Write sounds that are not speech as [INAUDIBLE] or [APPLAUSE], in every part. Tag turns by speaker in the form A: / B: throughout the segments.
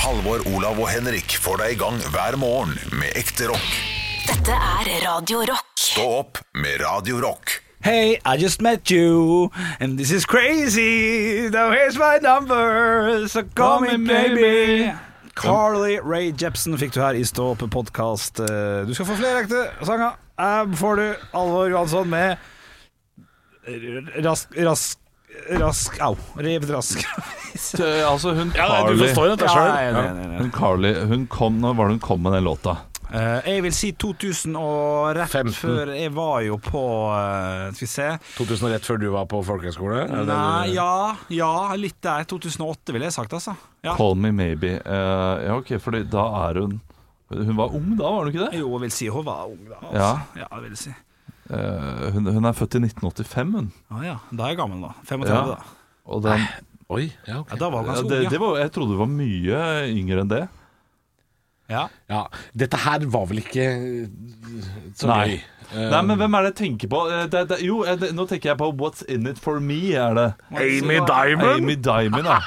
A: Halvor, Olav og Henrik får deg i gang hver morgen med ekte rock.
B: Dette er Radio Rock.
A: Stå opp med Radio Rock.
C: Hey, I just met you, and this is crazy. Now here's my number, so call me baby. Carly Ray Jepsen fikk du her i Stå opp podkast. Du skal få flere ekte sanger. Her får du Alvor Johansson med Rask Rask Rask Au. Revdrask.
D: Eh, Altså hun
E: [LAUGHS] Ja, nei,
D: Carly
E: du forstår jo dette
C: Ja,
E: selv.
C: nei, nei, nei, nei.
D: Hun Carly, hun kom, når var det hun kom med den låta?
C: Eh, jeg vil si 2000 og rett
E: 15.
C: før Jeg var jo på eh, Skal vi se
E: 2000 rett før du var på folkehøyskole? Er det det du-
C: Nei, ja, ja, litt der. 2008 ville jeg sagt, altså. Ja.
D: Call Me Maybe. Eh, ja, ok, for da er hun Hun var ung da, var hun ikke det?
C: Jo, jeg vil si hun var ung da. Altså.
D: Ja.
C: ja, jeg vil si.
D: Eh, hun, hun er født i 1985, hun.
C: Ah, ja. Da er jeg gammel, da. 35,
D: Ja.
C: da.
D: Og den,
E: Oi, ja, ok.
C: Ja, da var hun
D: ja,
C: ganske
D: det,
C: ung,
D: det var, jeg trodde hun var mye yngre enn det.
C: ja.
E: Ja, dette her var vel ikke eh, så
D: Nei.
E: gøy. Eh,
D: Nei, men hvem er det jeg tenker på? Eh, Det, det, jo, eh, det, nå tenker jeg på What's In It For Me, er det.
C: Amy
D: Amy
C: [LAUGHS]
D: Diamond, ja.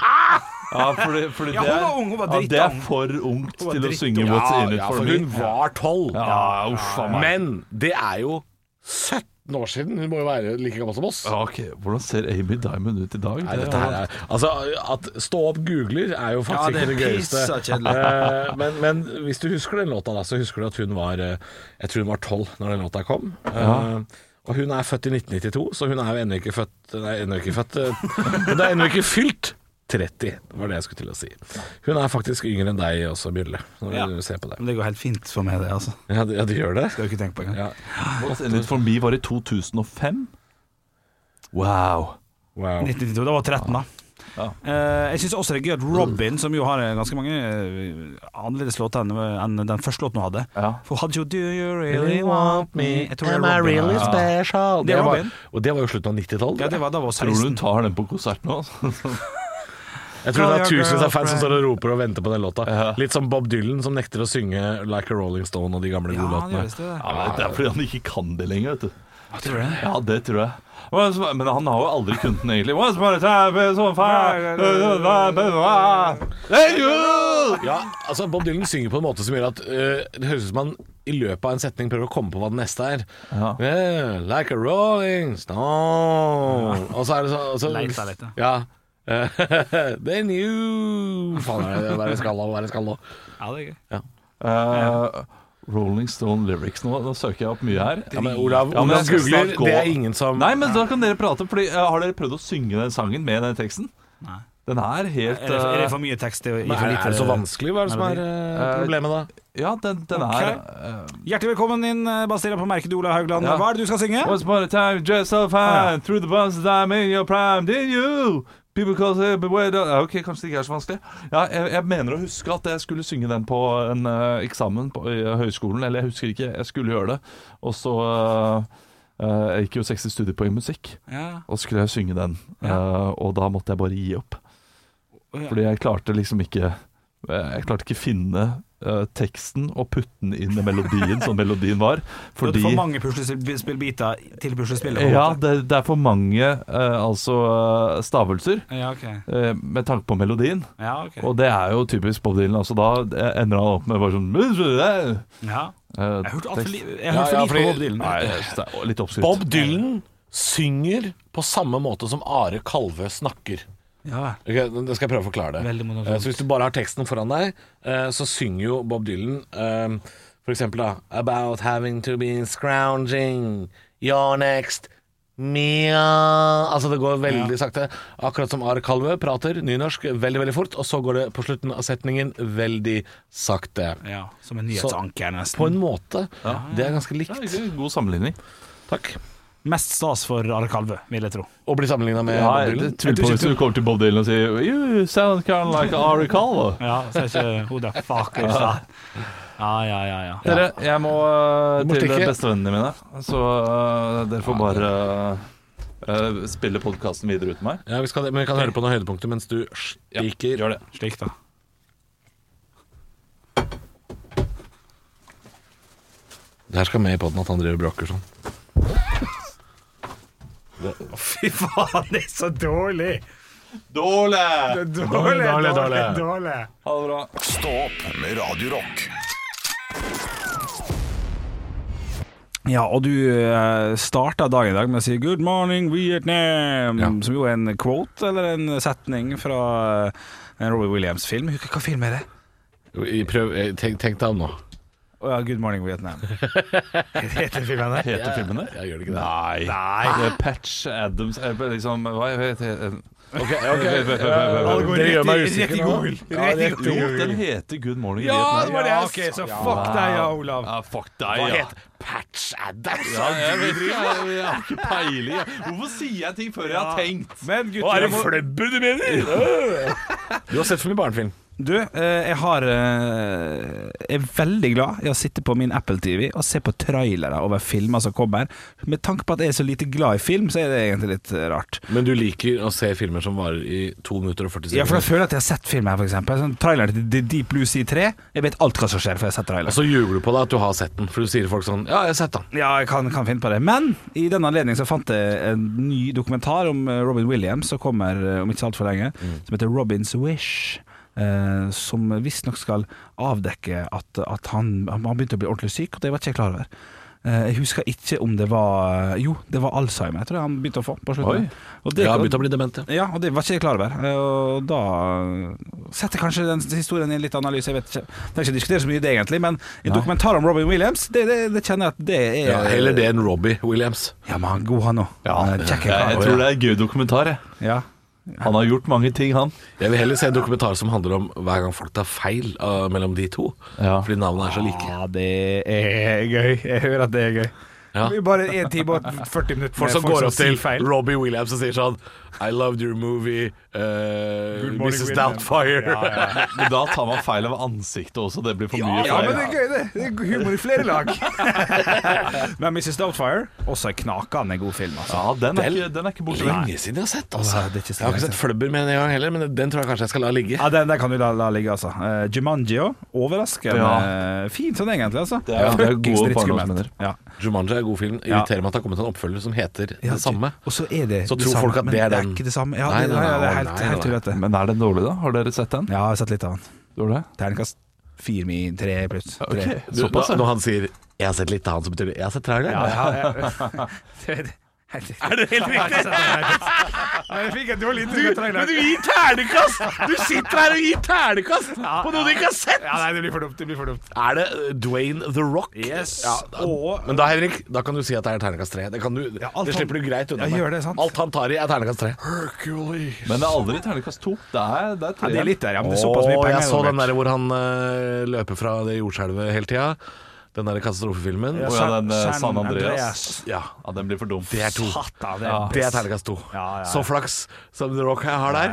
D: Ja, fordi, fordi
C: Ja, hun
D: det er-
C: var ung, hun var
D: ja, Det
C: drittung.
D: er for ungt
C: var
D: til å
C: drittung.
D: synge What's In It
E: ja,
D: For
E: for
D: Me.
E: hun var tolv.
D: Ja, uff a meg.
E: Men det er jo 17 år siden. Hun må jo være like gammel som oss.
D: Ja, ok, Hvordan ser Amy Diamond ut i dag?
E: Nei,
D: Det
E: dette her er, altså, at Stå opp googler er jo
C: Ja,
E: faktisk
C: det er
E: ikke det gøyeste.
C: pissa kjedelig.
E: Eh, men, men hvis du husker den låta, da, så husker du at hun var eh, Jeg tror hun var tolv når den låta kom. Eh, og hun er født i 1992, så hun er jo ennå ikke født Nei, ennå ikke født eh, Hun er ennå ikke fylt 30, det var det jeg skulle til å si. Hun er faktisk yngre enn deg også, Bjølle, når
C: Ja.
E: du ser på det.
C: Men det går helt fint for meg, det. altså
E: Ja, du- ja, du gjør det?
C: Skal jo ikke tenke på engang.
E: Ja.
D: What's In It For Me var i 2005. Wow.
E: Wow.
C: 1992, da var jeg 13, da.
D: Ja.
C: Eh, jeg syns også det er gøy at Robin, som jo har eh, ganske mange eh, annerledes låter enn enn den første låten hun hadde
D: Ja.
C: For hun hadde jo Do you really want me? Jeg tror det er Robin. Ja.
E: special?
C: Det
E: Det
C: er
E: var,
C: Robin.
E: og det var jo slutten av 90-tallet.
C: Ja, det var da var
D: Tror du
C: 16.
D: hun tar den på konsert nå?
E: Jeg tror det er
C: Call your
E: tusenvis av fans som
C: girlfriend.
E: står og roper og venter på den låta.
D: Ja.
E: Litt som Bob Dylan som nekter å synge Like a Rolling Stone og de gamle
C: Ja,
E: gode
C: det
E: låtene.
C: gjøres det.
D: Ja, men [LAUGHS] Det er fordi han ikke kan det lenger, vet du.
C: Jeg tror det.
D: Ja, det tror jeg. Once upon- Men han har jo aldri kunnet den, egentlig. Once upon a time, so far Hey, you!
E: Ja, altså Bob Dylan synger på en måte som gjør at øh, det høres ut som han i løpet av en setning prøver å komme på hva den neste er.
D: Ja.
E: Eh, like a Rolling Stone Og så er det sånn altså,
C: Leit er leit,
E: Ja. Eh, [LAUGHS] They knew Faen, er det- hva er det skal nå? Hva er det skal nå?
C: Ja, det er gøy.
D: Eh, Rolling Stone lyrics nå. Nå søker jeg opp mye her.
E: Ja, men Olav,
D: Ja, men
E: Olav
D: jeg skal
E: googler,
D: snart gå.
E: det er ingen som
D: Nei, men da kan dere prate. Fordi, eh, har dere prøvd å synge den sangen med den teksten?
C: Nei.
D: Den er helt
C: Er det, er det
D: eh,
C: for mye tekst i, i
E: Men
C: for
E: er,
C: lite
E: er det så vanskelig? Hva er det som er eh, problemet, da?
D: Ja, den, den
C: Ok.
D: er eh,
C: Hjertelig velkommen inn, eh, Bastila på merket Ola Haugland.
D: Ja.
C: Hva er det du skal synge?
D: Once upon a time, just so fine Through the bus, I'm in your prime Did you? People call it beware the- Ja, Ok, kanskje det ikke er så vanskelig ja, jeg, jeg mener å huske at jeg skulle synge den på en eh, eksamen på, i høyskolen Eller jeg husker ikke, jeg skulle gjøre det Og så eh, eh, Jeg gikk jo 60 studiepoeng i musikk
C: Ja.
D: Og så skulle jeg synge den Eh, Og da måtte jeg bare gi opp
C: Å, ja.
D: Fordi jeg klarte liksom ikke eh, Jeg klarte ikke finne eh, teksten og putte den inn i melodien Sånn melodien var
C: Du hadde
D: Fordi
C: for mange puslespillbiter til puslespillet? på en
D: Ja,
C: måte.
D: det, det er for mange eh, altså, eh, stavelser
C: Ja, ok.
D: eh, med tanke på melodien.
C: Ja, ok.
D: Og det er jo typisk Bob Dylan. Altså, da ender han opp med bare sånn eh,
C: Ja. Jeg hørte alt for li-
D: tekst.
C: jeg hørte for
E: Ja, ja,
C: lite på Bob Dylan.
E: fordi-
D: Nei, jeg synes det er litt oppskrytt.
E: Bob Dylan synger på samme måte som Are Kalvø snakker.
C: Ja, vel.
E: Ok, det skal jeg prøve å forklare det.
C: Veldig monotont.
E: Eh, Så hvis du bare har teksten foran deg, eh, så synger jo Bob Dylan eh, for eksempel da About having to be scrounging Your next Mia Altså det går veldig sakte. Akkurat som Are Kalvø prater nynorsk veldig, veldig fort, og så går det på slutten av setningen veldig sakte.
C: ja, som en nyhetsanker,
E: På en
C: nesten.
E: måte. Det er ganske
D: Ja,
E: likt.
D: det er en God sammenligning.
E: Takk.
C: Mest stas for Are Kalvø, vil jeg tro.
E: Å bli sammenligna med
D: Ja,
E: Bob
D: jeg
E: Dylan?
D: tviler på hvis du kommer til Bob Dylan og sier You sound kind of like Ari Calvo.
C: Ja, så er ikke
E: [LAUGHS]
C: hodet fuckers, da. Ja, ja, ja. ja.
D: Dere, jeg må eh,
E: Du må
D: til
E: stikke.
D: bestevennene mine, så eh, dere får bare eh, eh, spille podkasten videre uten meg.
E: Ja, vi skal, det, men vi kan høre på noen høydepunkter mens du stikker.
D: Gjør det.
C: Slik, da.
E: Det her skal med i poden at han driver og bråker sånn.
C: Fy faen, det er så dårlig!
D: Dårlig!
E: Dårlig, dårlig, dårlig.
C: dårlig.
D: Ha det bra.
A: Stå opp med Radio Rock.
C: Ja, og du eh, starta dagen i dag med å si 'Good morning, Vietnam',
D: Ja.
C: som jo er en quote, eller en setning fra eh, en Robbie Williams-film. Hva, hva film er det?
E: Prøv, eh, tenk, tenk deg om nå.
C: Å ja, 'Good morning, Vietnam'. Heter filmen det?
D: Heter filmen det?
E: Jeg gjør det ikke det.
D: Nei. Det er Patch Adams eh, liksom, Hva heter den?
E: Ok,
D: Vent,
E: ok,
D: vent, vent, vent, vent.
E: eh, Dere gjør meg
C: Rett i
E: usikker nå.
C: Google.
E: Ja,
C: Rett i
E: rett i
D: Jo,
E: Google.
D: den heter Good Morning
C: Ja,
D: Vietnam.
C: det var det jeg sa. så fuck deg, ja, Olav.
D: Ja, fuck deg,
E: Hva
D: ja.
E: heter Patch Adams?
D: Ja, jeg, vet ikke, jeg, jeg har ikke peiling. jeg. Hvorfor sier jeg ting før jeg har tenkt?
C: Men gutter, jeg må-
E: flebber du mener? Du har sett for mye barnefilm.
C: du, eh, jeg har eh, Jeg er veldig glad i å sitte på min Apple TV og se på trailere over filmer som kommer. Med tanke på at jeg er så lite glad i film, så er det egentlig litt eh, rart.
E: Men du liker å se filmer som varer i 2 minutter og 40
C: Ja, for jeg
E: sekunder.
C: føler at jeg har sett film her, for eksempel. Sånn, traileren til The Deep Blue Sea 3. Jeg vet alt hva som skjer, for jeg har sett
E: Og
C: traileren.
E: så ljuger du på deg at du har sett den, for du sier til folk sånn Ja, jeg har sett den.
C: Ja, jeg kan, kan finne på det. Men i denne anledning så fant jeg en ny dokumentar om eh, Robin Williams, som kommer eh, om ikke så altfor lenge,
E: Mm.
C: som heter 'Robins Wish'. Eh, som visstnok skal avdekke at, at han, han begynte å bli ordentlig syk, og det var ikke jeg klar over. Eh, jeg husker ikke om det var Jo, det var Alzheimer jeg tror jeg han begynte å få på slutten.
D: Oi.
C: Og
E: Jeg har begynt å bli dement, ja.
C: Ja, og det var ikke jeg klar over. Eh, Og da setter kanskje den historien i en litt analyse. Jeg vet ikke, jeg trenger ikke diskutere så mye det egentlig, men en dokumentar om Robin Williams, det, det, det kjenner jeg at det er
E: ja. Heller det enn Robbie Williams.
C: Ja, men han er god, han òg.
D: jeg, jeg tror det er en gøy dokumentar. Jeg.
C: Ja.
D: Han har gjort mange ting, han.
E: Jeg vil heller se en dokumentar som handler om hver gang folk tar feil uh, mellom de to.
D: Ja.
E: Fordi navnene er så like.
C: Ja, det er gøy. Jeg hører at det er gøy.
E: Ja.
C: Vi er Bare én time og 40 minutter
E: Folk som går opp til
C: sier feil.
E: Robbie Williams og sier sånn I loved your movie, uh,
C: Good morning,
E: Mrs.
C: William.
E: Doubtfire.
D: Men da tar man feil av ansiktet også. Det blir for mye
C: Ja,
D: feil.
C: men det er gøy, det. Det er humor i flere lag. [LAUGHS] men Mrs. Doubtfire, også en knakende god film, altså.
D: Ja, den er ikke, den er ikke borte.
E: Lenge siden jeg har sett, altså.
C: Åh, det er ikke så
E: jeg har ikke
C: lenge Ah.
E: sett Flubber med en gang heller, men den tror jeg kanskje jeg skal la ligge.
C: Ja, den der kan du la, la ligge, altså. Uh, Jumanji òg. Overraskende
D: Ja.
C: fint sånn, egentlig. altså
D: Det er- det er
C: Fuckings
D: gode
C: drittskummelt.
D: barndomsminner.
C: Ja.
E: Jumanji er en god film. Irriterer meg at det har kommet en oppfølger som heter det samme.
C: Og så er det
E: Så
C: det
E: tror
C: samme,
E: folk at
C: men
E: det er
C: det er
E: den.
C: ikke det samme. Ja,
E: Nei,
C: det,
E: nei, nei,
C: ja, det er
E: nei,
C: helt,
E: nei,
C: helt
E: nei.
C: tullete.
D: Men er den dårlig, da? Har dere sett den?
C: Ja, jeg har sett litt av den.
D: Dårlig?
C: Terningkast fire min tre pluss. Tre.
D: Ok,
E: Du,
D: såpass,
E: nå-
D: ja.
E: når han sier 'jeg har sett litt av han', så betyr det 'jeg har sett traileren'.
C: Ja, [LAUGHS] ja, ja. Er det helt riktig? Jeg fikk et dårlig inntrykk av traileren.
E: gir ternekast! Du sitter her og gir ternekast på noe du ikke har sett!
C: Ja, nei, det blir for dumt. Det blir for dumt.
E: Er det uh, Dwayne The Rock?
C: Yes.
E: Ja, da,
C: Og-
E: men da Henrik, da kan du si at det er ternekast tre. Det, kan du,
C: alt
E: det
C: han-
E: slipper du greit unna
C: Ja,
E: med.
C: gjør det, sant.
E: Alt han tar i, er ternekast tre. Hercules.
D: Men det er aldri terningkast to. Det er, det er,
C: Ja, det er litt der, ja. Men det er såpass mye
E: Åh,
C: penger.
E: jeg så den
C: involvert.
E: der hvor han eh, løper fra det jordskjelvet hele tida. Den der katastrofefilmen.
D: Å
E: Ja.
D: ja, den, eh,
C: San-
D: San Andreas.
E: ja.
D: Ja, den blir for dum.
E: Det er to.
C: Satan, det er
E: Det er terningkast to.
C: Ja, ja, ja.
E: Så flaks som The Rock har der.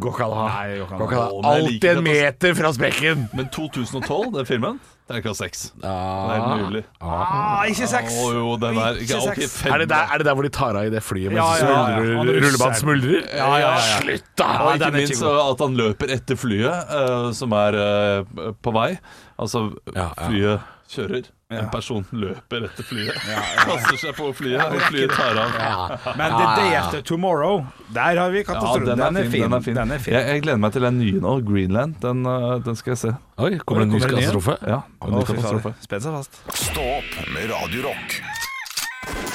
E: Går ikke an å ha.
C: Nei, går ikke an å
E: Går ikke an
D: ha.
E: å
D: Åh,
E: ha.
D: men jeg
E: Alltid
D: liker
E: en
D: det,
E: meter fra sprekken!
D: Men 2012, den filmen, terningkast seks. Det er
E: Ja.
D: helt mulig.
C: Ah, ikke
D: Å
C: seks!
D: jo, den er
C: Ikke
D: ok,
C: seks.
D: fem,
E: Er det, der, er det der hvor de tar av i det flyet mens
C: Ja, ja, ja.
E: ruller-
C: Han russer.
E: rullebanen smuldrer?
C: Ja, ja, ja, ja.
E: Slutt, da!
D: Og
C: den
D: ikke
C: er ikke
D: minst
C: god.
D: uh, at han løper etter flyet uh, som er uh, på vei. Altså,
E: Ja, ja.
D: flyet kjører. En person løper etter flyet, [LAUGHS] kaster seg på flyet, og flyet tar av.
C: altså. Men The Day After Tomorrow, der har vi katastrofen. den, er fin.
D: den er fin. Jeg, jeg gleder meg til den nye nå, Greenland. Den, uh, den skal jeg se.
E: Oi, kommer det en ny
C: Kommer det en ny?
E: katastrofe?
D: Ja, en ny katastrofe.
C: Spenn seg fast.
A: Stå opp med Radio Rock.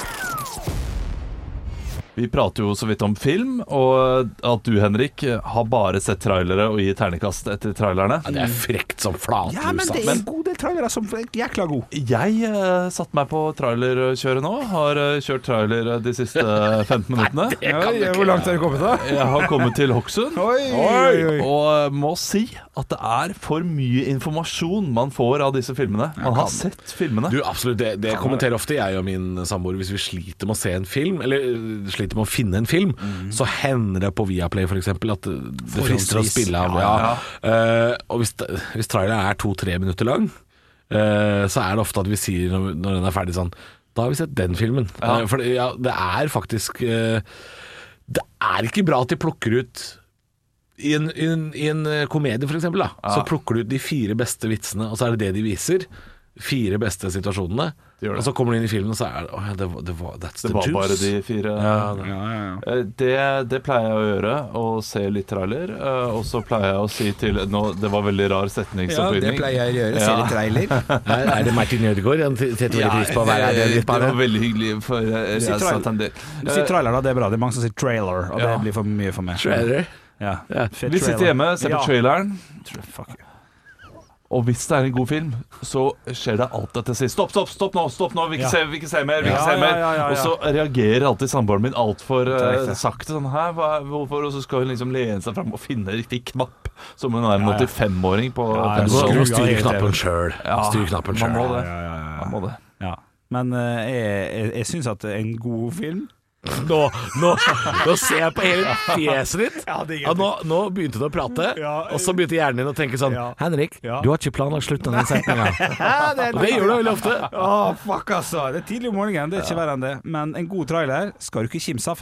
D: Vi prater jo så vidt om film, og at du, Henrik, har bare sett trailere og gir ternekast etter trailerne.
E: Ja, det er frekt som flatlus,
C: Ja, men det er en god del trailere som er jækla god.
D: Jeg eh, satte meg på trailerkjøret nå. Har eh, kjørt trailer eh, de siste 15 minuttene.
C: hvor langt har du kommet, da?
D: Jeg har kommet til Hokksund.
C: Oi, oi, oi.
D: Og eh, må si at det er for mye informasjon man får av disse filmene. Man har sett filmene.
E: Du, absolutt, det, det kommenterer ofte jeg og min samboer hvis vi sliter med å se en film, eller øh, sliter med å finne en film, så hender det på Viaplay f.eks. at det det frister å
C: Forholdsvis.
E: spille av. Ja, Eh, og hvis, hvis traileren er to-tre minutter lang, eh, så er det ofte at vi sier når, når den er ferdig sånn Da har vi sett den filmen. Eh, for det- ja, det er faktisk eh, Det er ikke bra at de plukker ut i en, i en, i en eh, komedie, for eksempel, da, så plukker du ut de fire beste vitsene, og så er det det de viser. fire beste situasjonene,
D: Det gjør det.
E: og så kommer du inn i filmen, og så er det, oh, ja, det, var- det var, That's
D: Det
E: the
D: var
E: juice.
D: bare de fire.
E: Ja, det-
C: Ja, ja, ja.
D: Eh, Det, det pleier jeg å gjøre, å se litt trailer. eh, Og så pleier jeg å si til nå, Det var veldig rar
E: Sånn
D: setningsoppbygning.
F: det pleier jeg å gjøre. Se litt
E: [LAUGHS]
F: trailer.
E: [LAUGHS] Er, er det Martin Ødegaard han setter veldig pris på å være her?
D: Eh, det var veldig hyggelig, for eh,
C: sier
D: jeg
C: trail-
D: satt en del Eh,
C: Du sier trailer, da. Det er bra. Det er mange som sier trailer, og det
D: Ja.
C: blir for mye for meg.
E: Trailer.
C: Ja.
E: Ja.
C: Fet
D: Vi sitter
C: trailer.
D: hjemme, ser på
C: Ja.
D: traileren,
C: Tra- Fuck you.
D: og hvis det er en god film, så skjer det alt dette sist. Stopp, stopp, stopp nå! stopp nå, Vi ikke
C: Ja.
D: ser, vi ikke ser mer! vi ikke
C: Ja,
D: ser
C: ja,
D: mer
C: ja, ja, ja.
D: Og så reagerer alltid samboeren min altfor
C: Det er
D: uh,
C: riktig.
D: sakte. sånn, Hæ, hva, hvorfor? Og så skal hun liksom lene seg fram og finne riktig knapp, som hun er en
C: Ja, ja.
D: 85-åring på
C: Ja, ja.
E: Du må- du må
C: Skru av
E: styre
C: hele
E: knappen
C: TV.
E: sjøl.
D: Ja,
E: Styre knappen
D: man må
E: sjøl.
D: det.
C: Ja, ja, ja, ja.
D: Man må det.
C: Ja. Men eh, jeg, jeg, jeg syns at en god film
E: Nå, nå, nå ser jeg på hele fjeset ditt.
C: Ja, det er
E: Ja, nå, nå begynte du å prate,
C: Ja. eh,
E: og så begynte hjernen din å tenke sånn
C: Ja.
E: Henrik,
C: Ja.
E: du har ikke planlagt slutten av den setninga.
C: [LAUGHS] Ja, det,
E: Og det gjør du veldig ofte.
C: Å, fuck, altså. Det er tidlig om morgenen, det er ikke verre enn det. Men en god trailer skal du ikke kimse av.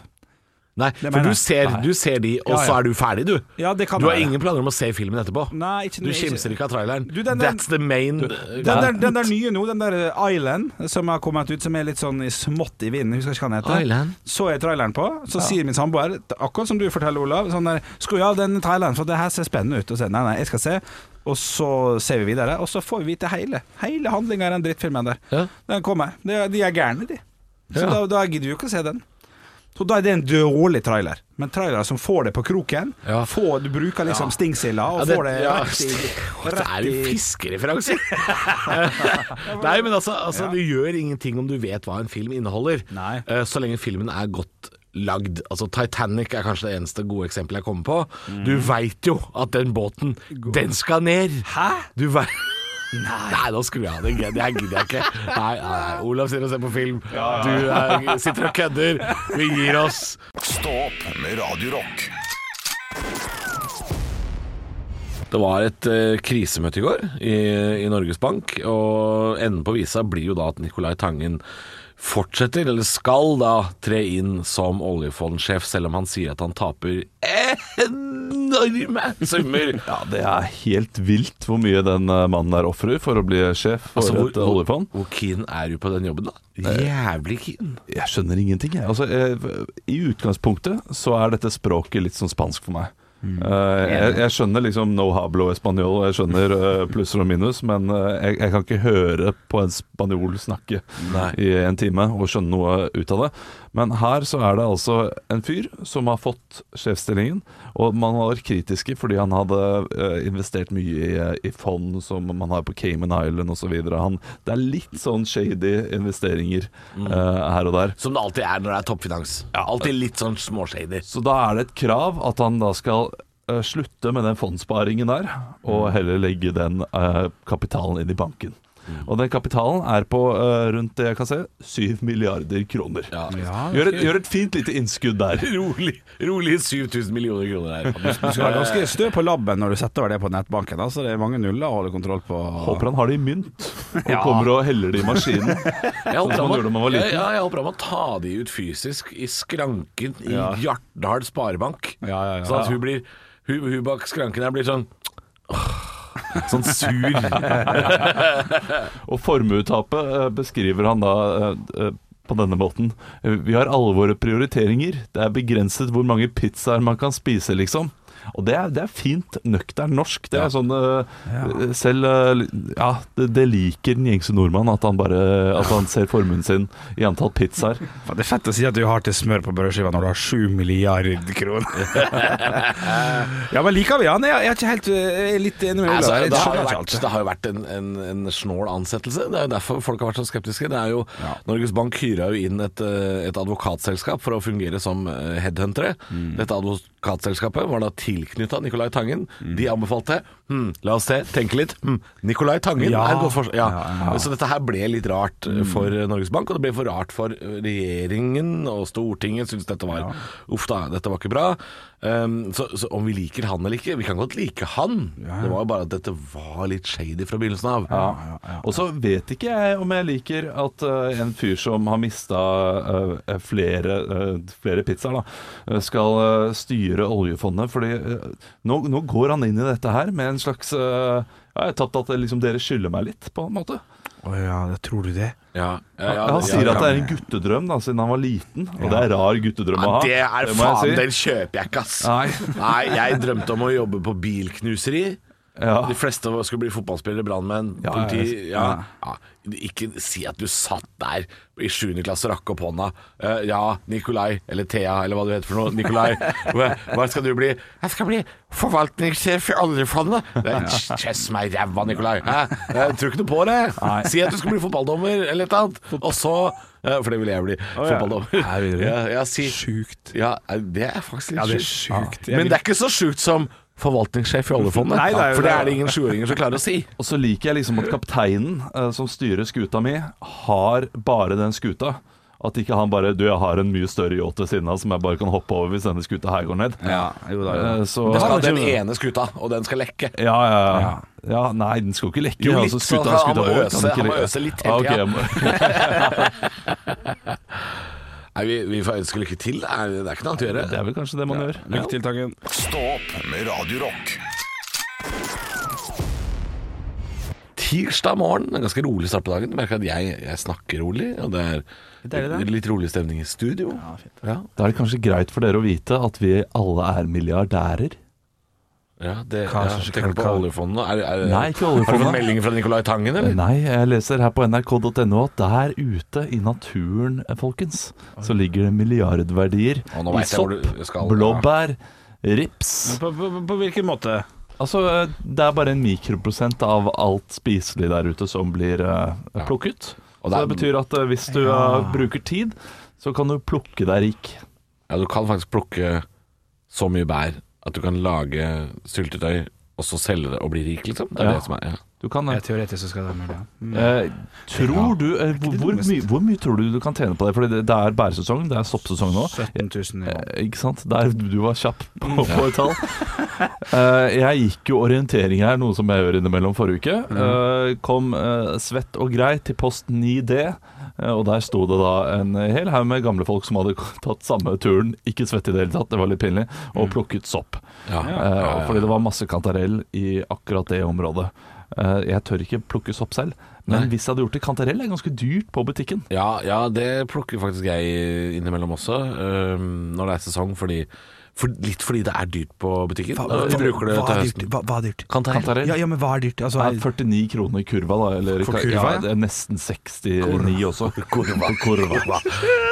E: Nei,
C: mener
E: for du
C: jeg.
E: ser, du ser de, og
C: Ja,
E: så
C: ja.
E: er du ferdig, du.
C: Ja, det kan
E: Du har
C: være.
E: ingen planer om å se filmen etterpå.
C: Nei, ikke
E: Du
C: ikke-
E: kimser ikke av traileren.
C: Du, den- den-
E: That's the main
C: Den der, den der nye nå, den der Island som har kommet ut, som er litt sånn i smått i vinden, husker jeg ikke hva den heter.
E: Island.
C: Så jeg traileren på, så sier min samboer, akkurat som du forteller, Olav, sånn der Skru av den traileren, for det her ser spennende ut. Og så sier jeg, nei, nei, jeg skal se. Og så ser vi videre, og så får vi vite hele Hele handlinga i den drittfilmen der.
E: Ja.
C: Den kommer. De, er- de er gærne, de. Så
E: Ja.
C: da, da gidder vi jo ikke å se den. Så da er det en dårlig trailer. Men trailere som får det på kroken,
E: Ja.
C: får, du bruker liksom stingsilla og
E: Ja, det,
C: får det
E: ja,
C: rett
E: [LAUGHS]
C: i
E: det er jo fiskereferanser!
C: [LAUGHS]
E: [LAUGHS] Nei, men altså, altså det gjør ingenting om du vet hva en film inneholder,
C: Nei.
E: eh, så lenge filmen er godt lagd. Altså Titanic er kanskje det eneste gode eksempelet jeg kommer på.
C: Mm.
E: Du veit jo at den båten, den skal ned!
C: Hæ?
E: Du [LAUGHS] veit Nei, nå skrur jeg av. Det gidder det her gidder jeg ikke. Nei, nei, nei. Olav sitter og ser på film. Du eh, sitter og kødder. Vi gir oss.
A: Stå opp med Radio Rock.
E: Det var et eh, krisemøte i går i, i Norges Bank, og enden på visa blir jo da at Nicolai Tangen fortsetter, eller skal da, tre inn som oljefondsjef, selv om han sier at han taper enorme [LAUGHS] summer.
D: Ja, det er helt vilt hvor mye den eh, mannen der ofrer for å bli sjef for
E: Altså, hvor,
D: et eh,
E: hvor,
D: oljefond.
E: hvor keen er du på den jobben, da? Jævlig keen.
D: Jeg skjønner ingenting, jeg. Altså, eh, I utgangspunktet så er dette språket litt sånn spansk for meg. Eh, jeg, jeg skjønner liksom no hablo español, jeg skjønner eh, plusser og minus, men eh, jeg, jeg kan ikke høre på en spanjol snakke
E: Nei.
D: i en time og skjønne noe ut av det. Men her så er det altså en fyr som har fått sjefsstillingen, og man var kritiske fordi han hadde eh, investert mye i, eh, i fond som man har på Cayman Island osv. Det er litt sånn shady investeringer eh, her og der.
E: Som det alltid er når det er toppfinans. Alltid litt sånn småshader.
D: Så da er det et krav at han da skal eh, slutte med den fondssparingen der, og heller legge den eh, kapitalen inn i banken. Og den kapitalen er på eh, rundt det jeg kan se, 7 milliarder kroner. Gjør, et, gjør et fint lite innskudd der.
E: Rolig, rolig 7000 millioner kroner her. [LAUGHS]
C: Du skal være ganske stø på labben når du setter over det på nettbanken. Altså, det er mange nuller å holde kontroll på.
D: Håper han har det i mynt, og kommer og heller det i maskinen.
E: Jeg holdt
D: Sånn som
E: på
D: man
E: med-
D: gjorde da man var liten.
E: Ja, ja, jeg holdt på med å ta de ut fysisk i skranken i
D: Ja.
E: Hjartdal Sparebank.
C: Ja, ja, ja.
E: Sånn at hun blir hun, hun bak skranken her blir sånn åh, Sånn sur.
D: Og formuetapet eh, beskriver han da eh, eh, på denne måten. Eh, Vi har alle våre prioriteringer. Det er begrenset hvor mange pizzaer man kan spise, liksom. Og det er, det er fint nøktern norsk. Det er sånn eh, eh, Selv eh, li- Ja, det, det liker den gjengse nordmann, at han bare At han ser formuen sin i antall pizzaer.
C: Faen, Det er fett å si at du har til smør på brødskiva når du har sju milliarder kroner. [LAUGHS] ja, men liker vi han? Jeg, jeg er ikke helt eh, jeg er litt enig med
E: Altså,
C: Olav. Jeg
E: det, har
C: skjønner
E: jo
C: ikke
E: vært,
C: alt.
E: det har jo vært en, en, en snål ansettelse. Det er jo derfor folk har vært så skeptiske. Det er jo, Norges Bank hyra jo inn et, eh, et advokatselskap for å fungere som eh, headhuntere. Dette advokatselskapet var da tilknytta Nicolai Tangen. De anbefalte hm, la oss se, tenke litt. Hm, Nicolai Tangen
C: Ja.
E: er et godt forslag. Ja. Så dette her ble litt rart eh, for
D: Mm.
E: eh, Norges Bank, og det ble for rart for eh, regjeringen og Stortinget syntes dette var Uff da, dette var ikke bra. Um, så, så om vi liker han eller ikke Vi kan godt like han. Det var jo bare at dette var litt shady fra begynnelsen av.
D: Og så vet ikke jeg om jeg liker at eh, en fyr som har mista eh, flere, eh, flere pizzaer, da, eh, skal eh, styre oljefondet. Fordi eh, nå, nå går han inn i dette her med en slags eh, ja, Jeg har tatt at det liksom, dere skylder meg litt, på en måte.
C: Å ja, det tror du det?
E: Ja, ja, ja,
D: Han
E: det-
D: sier
E: ja,
D: at det er en guttedrøm da, siden han var liten, og det er rar guttedrøm å ha.
E: Det er
D: må
E: faen,
D: jeg si.
E: den kjøper jeg ikke, ass.
D: Nei.
E: Nei, jeg drømte om å jobbe på bilknuseri.
D: Ja.
E: De fleste av oss skulle bli fotballspillere, brannmenn,
D: Ja,
E: politi
D: ja,
E: ja. Ja. Ikke si at du satt der i 7. klasse og rakk opp hånda. Eh, ja, Nikolai, eller Thea, eller hva du heter for
D: [LAUGHS]
E: noe. Nikolai, hva hva skal du bli? Jeg skal bli forvaltningssjef i oljefondet. Det er- Kjess meg i ræva, Nikolai. Hæ? Jeg tror ikke noe på det.
D: Nei.
E: Si at du skal bli fotballdommer, eller et eller annet. Og så eh, For det ville jeg bli.
D: Her vil
E: Fotballdommer.
D: du.
E: Ja, ja, si,
C: Sjukt.
E: ja, eh, det er faktisk litt
C: Ja, det er
E: sjukt. Ah.
C: sjukt. Jeg
E: Men
C: vil-
E: det er ikke så sjukt som forvaltningssjef i oljefondet.
C: Nei, det er jo
E: for det
C: det.
E: er det ingen sjuåringer som klarer
C: [LAUGHS]
E: å si.
D: Og så liker jeg liksom at kapteinen eh, som styrer skuta mi, har bare den skuta. At ikke han bare Du, jeg har en mye større yacht ved siden av som jeg bare kan hoppe over hvis denne skuta her går ned.
C: Ja, jo da, jo da.
D: Eh, Så
E: Jeg skal ha
D: ja,
E: den ene skuta, og den skal lekke.
D: ja, ja, ja. Nei, den skal jo ikke lekke.
E: Jo, litt,
D: altså,
E: så
D: skuta,
E: han
D: skuta
E: må
D: vår kan
E: øse-
D: ikke
E: han må
D: lekke.
E: øse litt hele
D: Ja, [LAUGHS] ok,
E: tiden.
D: jeg må-
E: Nei, vi, vi får ønske lykke til. Det er, det er ikke noe annet å gjøre.
D: Det er vel kanskje det man gjør.
C: Lykke til, Tangen.
A: Stå opp med Radio Rock.
E: Tirsdag morgen, en ganske rolig start på dagen. Du merker at jeg, jeg snakker rolig, og det er litt rolig stemning i studio. Ja,
D: Da er det kanskje greit for dere å vite at vi alle er milliardærer.
E: det,
C: Kanskje-
E: ja, tenker du på
C: kan-
E: oljefondet? Er, er,
D: Nei, ikke
E: Har du fått
D: oljefondet.
E: melding fra Nicolai Tangen, eller?
D: Nei, jeg leser her på nrk.no at der ute i naturen, eh, folkens, så ligger det milliardverdier
E: Å, nå
D: i
E: vet jeg hvor
D: sopp,
E: du skal.
D: blåbær, rips
C: På, på, på hvilken måte?
D: Altså, eh, det er bare en mikroprosent av alt spiselig der ute som blir eh, plukket.
E: Og
D: så
E: det
D: det
E: er-
D: betyr at eh, hvis du eh, bruker tid, så kan du plukke deg rik.
E: Ja, du kan faktisk plukke så mye bær at du kan lage syltetøy og så selge det og bli rik, liksom. Det
D: Ja.
E: er det som er ja.
D: Du kan eh,
C: Ja, teoretisk så skal det være mulig. ja.
D: Eh, tror du, eh, hvor, hvor,
C: dummeste.
D: mye, hvor mye tror du du kan tjene på det? Fordi det, det er bæresesong, det er soppsesong nå.
C: 17 000 i måneden.
D: Eh, Ikke sant? Der du var kjapp
E: Mm.
D: på, [LAUGHS] på et tall. Eh, jeg gikk jo orientering her, noe som jeg gjør innimellom forrige uke.
E: Mm.
D: Eh, kom eh, svett og grei til post 9D, eh, og der sto det da en hel haug med gamle folk som hadde [LAUGHS] tatt samme turen, ikke svett i det hele tatt, det var litt pinlig, og plukket sopp.
E: Mm. Ja.
D: Eh, og Fordi det var masse kantarell i akkurat det området. Eh, jeg tør ikke plukke sopp selv, men hvis jeg hadde gjort det Kantarell er ganske dyrt på butikken.
E: Ja, ja, det plukker faktisk jeg innimellom også øhm, når det er sesong, fordi for, Litt fordi det er dyrt på butikken. de bruker det
C: hva, er dyrt?
E: til høsten.
C: Hva, hva er dyrt?
E: Kantarell.
D: Kantarell
C: Ja, ja, men hva er dyrt? Altså,
D: Det er 49 kroner i kurva, da. Eller,
C: For kurva, ja.
D: det er nesten 69 også. [LAUGHS] Kurva. kurva.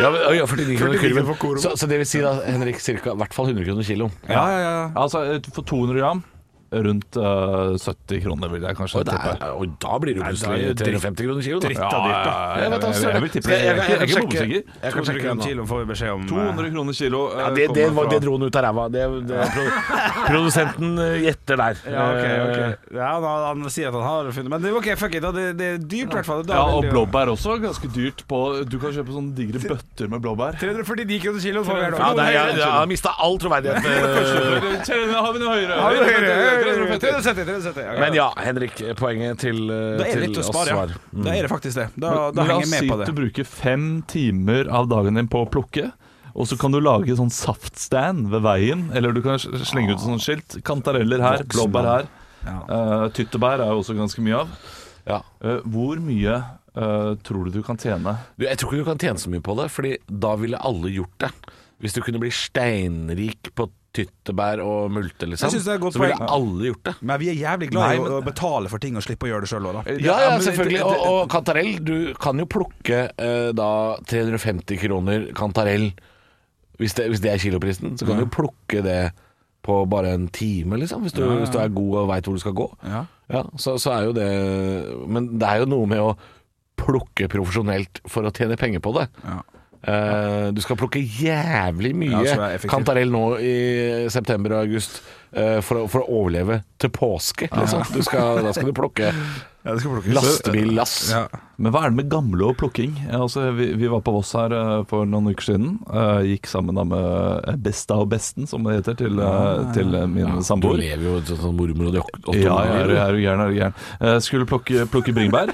E: Ja, men, ja, 49
C: 49
E: kroner kurven.
C: for kurven.
E: Så, så det vil si da, Henrik, cirka, i hvert fall 100 kroner kilo.
C: ja, ja, ja.
D: Altså, eh, for 200 gram rundt eh, 70 kroner, vil jeg kanskje
E: Og, det er,
D: tippe.
E: og da blir det jo
C: da er
E: plutselig
C: det dritt-
E: 350 kroner kilo. Da.
C: dritt av dyrt, da.
D: jeg,
E: vet
D: jeg, jeg,
E: altså,
D: vil tippe
E: skal
D: det.
E: jeg-
D: Jeg er ikke- jeg er ikke
E: jeg kan sjekke-
D: bombesikker.
E: jeg kan
C: 200
E: sjekke den
C: kroner
E: nå.
C: kiloen får vi beskjed om. eh,
D: 200 kroner kilo. eh,
E: Ja, det, det,
D: kommer
E: var,
D: fra-
E: det dro den ut av ræva. Det, det, pro,
C: [LAUGHS]
E: produsenten eh, gjetter der. Eh,
C: Ja, ok, ok ja, han, han sier at han har funnet Men det er ok, fuck it, da. det, det er dyrt i hvert fall. Da
D: Ja,
C: vil
D: og
C: det jo-
D: blåbær også. Ganske dyrt på Du kan kjøpe sånne digre bøtter med blåbær.
C: 349 kroner kiloen får vi her nå.
E: Ja, nei, jeg, jeg har mista all troverdighet. eh,
D: Har vi noe høyere?
C: Ja, det er høyere, høyere, høyere, 370, 370, ja,
E: Men ja, Henrik. Poenget til, eh,
C: Da er det
E: til
C: litt å
E: oss
C: spare.
E: var
C: ja. Da er det faktisk det. Da, da
D: Men la
C: henger
D: oss
C: jeg med
D: si
C: på
D: at
C: det.
D: du bruker fem timer av dagen din på å plukke. Og så kan du lage sånn saftstand ved veien, eller du kan s- slenge ut sånn skilt. Kantareller her, blåbær her. Eh, tyttebær er jo også ganske mye av.
E: ja.
D: Eh, hvor mye eh, tror du du kan tjene?
E: Du, Jeg tror ikke du kan tjene så mye på det, Fordi da ville alle gjort det. Hvis du kunne bli steinrik på tyttebær og multe, liksom,
C: Jeg synes det er et godt
E: så ville
C: poeng.
E: alle gjort det.
C: Men vi er jævlig glad i
D: Nei,
C: å betale for ting og slippe å gjøre det sjøl òg, da.
E: Ja, ja,
D: men Eh, det-
E: selvfølgelig.
D: det-
E: Og, og kantarell. Du kan jo plukke eh, da 350 kroner kantarell. Hvis det, hvis det er kiloprisen, så kan du jo plukke det på bare en time, liksom. Hvis du, Hvis du er god og veit hvor du skal gå.
C: Ja.
E: Ja, så, så er jo det Men det er jo noe med å plukke profesjonelt for å tjene penger på det.
C: Ja.
E: Eh, du skal plukke jævlig mye
C: Ja, så det er effektivt.
E: kantarell nå i september og august eh, for, å, for å overleve til påske. Liksom. Du skal, da skal du plukke
C: det skal plukkes.
E: lastebillass.
C: Ja.
D: Men hva er det med gamle og plukking? Ja, Altså, vi, vi var på Voss her eh, for noen uker siden. eh, gikk sammen da med eh, Besta og Besten, som det heter, til, eh,
E: Ah,
D: til eh, min
E: Du
D: samboer.
E: lever jo et sånt sånn mormor og de åtte
D: Ja, ja, er du
E: ja,
D: er du gæren, er du gæren. Eh, skulle plukke, plukke bringebær.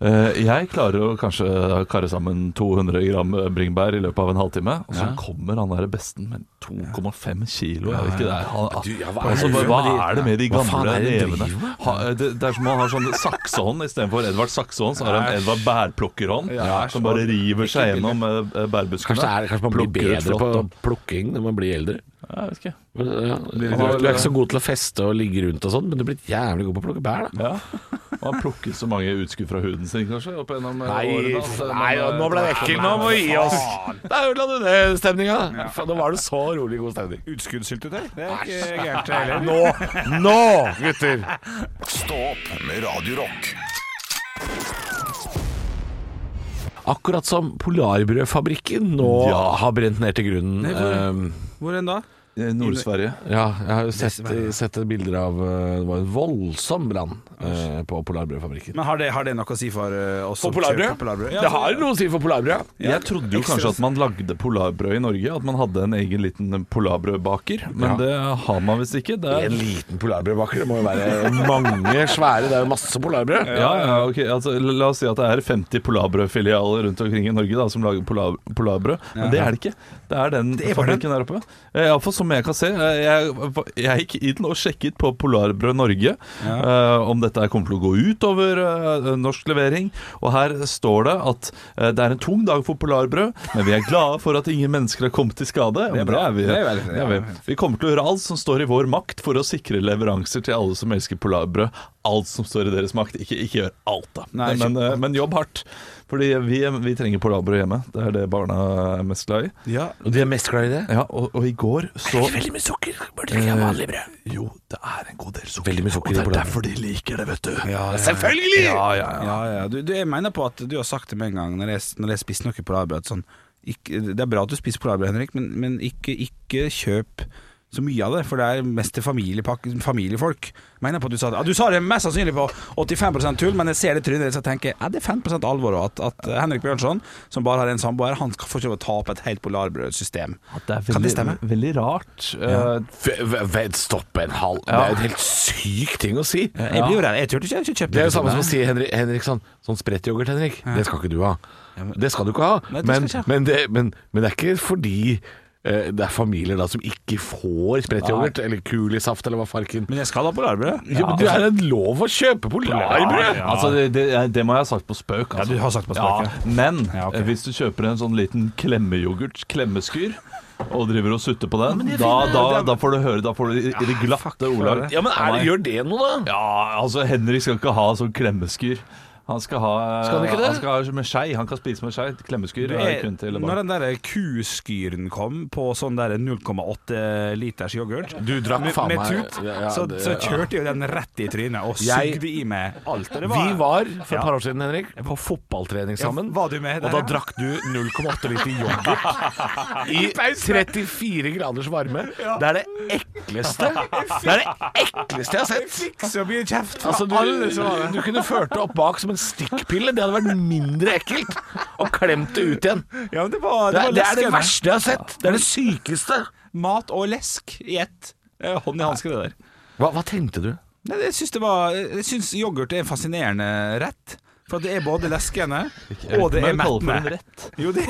D: Eh, jeg klarer å kanskje karre sammen 200 gram eh, bringebær i løpet av en halvtime, og så kommer han der besten med 2,5 kilo. Jeg vet ikke det er han,
E: Du, ja, hva er
D: altså,
E: det
D: hva,
E: med de-
D: er det med de
E: Hva faen
D: gamle
E: er det de
D: nevene?
E: driver med?
D: Ha, eh, det, det er som om han har sånn saksehånd istedenfor Edvard Saksehånd, så har han Edvard Bærplukkerhånd, som bare river seg gjennom eh, bærbuskene.
E: Kanskje, det er, kanskje man blir
D: Plukker ut
E: bedre
D: flott
E: på
D: opp.
E: plukking når man blir eldre.
D: Jeg vet ikke.
E: Men, ja. Du
D: litt
E: er
D: rart.
E: ikke så god til å feste og ligge rundt og sånn, men du er blitt jævlig god på å plukke bær, da.
D: Ja. Og han plukker så mange utskudd fra huden sin, kanskje, opp gjennom eh, årene. altså.
E: nei,
D: Men, eh,
E: nå ble det ekkelt. Nå må vi gi oss. Da ødela du det stemninga. Nå var det så rolig god stemning.
C: Utskuddssyltetøy? Det er ikke gærent, det heller.
E: Nå, nå, gutter!
A: Stå opp med Radio Rock.
E: Akkurat som Polarbrødfabrikken nå
D: Ja.
E: har brent ned til grunnen. Ehm,
C: Hvor enn da?
D: eh, Nord-Sverige.
E: ja, jeg har jo sett, sett bilder av eh, Det var en voldsom brann eh, på Polarbrødfabrikken.
C: Men har det, har det noe å si for eh, oss
E: På
C: som
E: Polarbrød?
C: kjøper Polarbrød?
E: Det har jo noe å si for Polarbrød.
D: Jeg trodde jo kanskje at man lagde polarbrød i Norge, at man hadde en egen liten polarbrødbaker, men
E: Ja.
D: det har man visst ikke. Det er
E: En liten polarbrødbaker, det må jo være mange svære. Det er jo masse polarbrød.
D: ja, ja, ok altså, La la oss si at det er 50 polarbrødfilialer rundt omkring i Norge da, som lager polar, polarbrød, men det er det ikke. Det er den
C: er bare
D: fabrikken der oppe. Iallfall som jeg kan se. eh, Jeg, jeg gikk inn og sjekket på Polarbrød Norge eh, om dette her kommer til å gå ut over eh, norsk levering, og her står det at eh, det er en tung dag for polarbrød, men vi er glade for at ingen mennesker har kommet til skade. Det er
C: bra.
D: vi.
C: Det er veldig-
D: det er vi. Vi kommer til å gjøre alt som står i vår makt for å sikre leveranser til alle som elsker polarbrød. Alt som står i deres makt. Ikke, ikke gjør alt, da.
C: Nei, ikke
D: men, eh, men jobb hardt. Fordi vi, vi trenger polarbrød hjemme. Det er det barna er mest glad i.
C: Ja,
E: Og de er mest glad i Eh, det.
D: Ja, og, og i går så
E: Veldig mye sukker. Burde ikke ha vanlig brød.
D: Jo, det er en god del sukker.
E: Veldig mye sukker
D: og
E: i
D: det er
E: polarbrød.
D: derfor de liker det, vet du.
E: Selvfølgelig!
D: Ja, ja, ja.
C: ja, ja. Du, du, jeg mener på at du har sagt det med en gang når jeg, når jeg spiser noe polarbrød at sånn, ikke, Det er bra at du spiser polarbrød, Henrik, men, men ikke, ikke kjøp så mye av det, for det er mest til familiepak- familiefolk. Jeg Mener på at Du sa det ja, Du sa det mest sannsynlig på 85 tull, men jeg ser det trynet ditt og tenker er det er 5 alvor. og At, at Henrik Bjørnson, som bare har en samboer, han får ikke lov å ta opp et helt polarbrødsystem.
D: Det er veldig,
C: Kan det stemme?
D: Veldig rart. Eh,
E: V- v- v- Stopp en halv. Det er jo en helt syk ting å si.
C: Jeg blir jo redd. Jeg turte ikke, jeg har ikke kjøpt
E: Det er jo samme som å si Henrik, Henrik sånn, sånn sprettyoghurt, Henrik. Det skal ikke du ha. Det skal du ikke ha.
C: Nei, det skal jeg
E: Men,
C: ikke ha.
E: men, det, men, men det er ikke fordi eh, det er familier da som ikke får sprettyoghurt eller kulisaft eller hva farken.
C: Men jeg skal ha polarbrød.
E: Ja, men det er en lov å kjøpe polarbrød!
D: Altså, det, det, det må jeg ha sagt på spøk. Altså.
C: du har sagt på spøk, ja.
D: Men
C: Ja, ok.
D: eh, hvis du kjøper en sånn liten klemmeyoghurt, klemmeskyr, og driver og sutter på den, da, da, da får du høre Da får du i, i det glatte Olav.
E: Ja, men er det, gjør det noe, da?
D: Ja, altså, Henrik skal ikke ha sånn klemmeskyr. Han skal ha
E: Skal han ikke det?
D: skal ha med skei. Han kan spise med skei. Klemmeskyr er
C: Jeg-
D: kun til
C: Når
D: barn.
C: den der kuskyren kom på sånn der 0,8 liters yoghurt
E: Du drakk
C: med,
E: faen
C: med
E: meg
C: tut,
E: Ja, ja,
C: så,
E: det-
C: så kjørte jo den rett i trynet og
E: Jeg-
C: sugde i meg alt. og det
E: Vi var for
C: Ja.
E: et par år siden, Henrik, på fotballtrening sammen.
C: var du med
E: og
C: der,
E: da
C: ja?
E: drakk du 0,8 liter yoghurt i 34 graders varme. Det er det
C: [LAUGHS]
E: ekleste Det er det ekleste jeg har sett.
C: så mye kjeft fra
E: Altså, du,
C: alle som var der.
E: du kunne ført det opp bak som en stikkpille. Det hadde vært mindre ekkelt. Og klemt det ut igjen. Det,
C: Ja, men det var, det
E: er-
C: var
E: det er det
C: leskende.
E: verste jeg har sett. Det er det sykeste.
C: Mat og lesk i ett. Eh, Hånd i hanske, det der.
E: Hva, hva tenkte du?
C: Nei, jeg syns det var Jeg syns yoghurt er en fascinerende rett. For at det er både leskende
E: [LAUGHS]
C: og det er
D: Men kaller for en
C: mettende.
D: rett.
C: Jo, det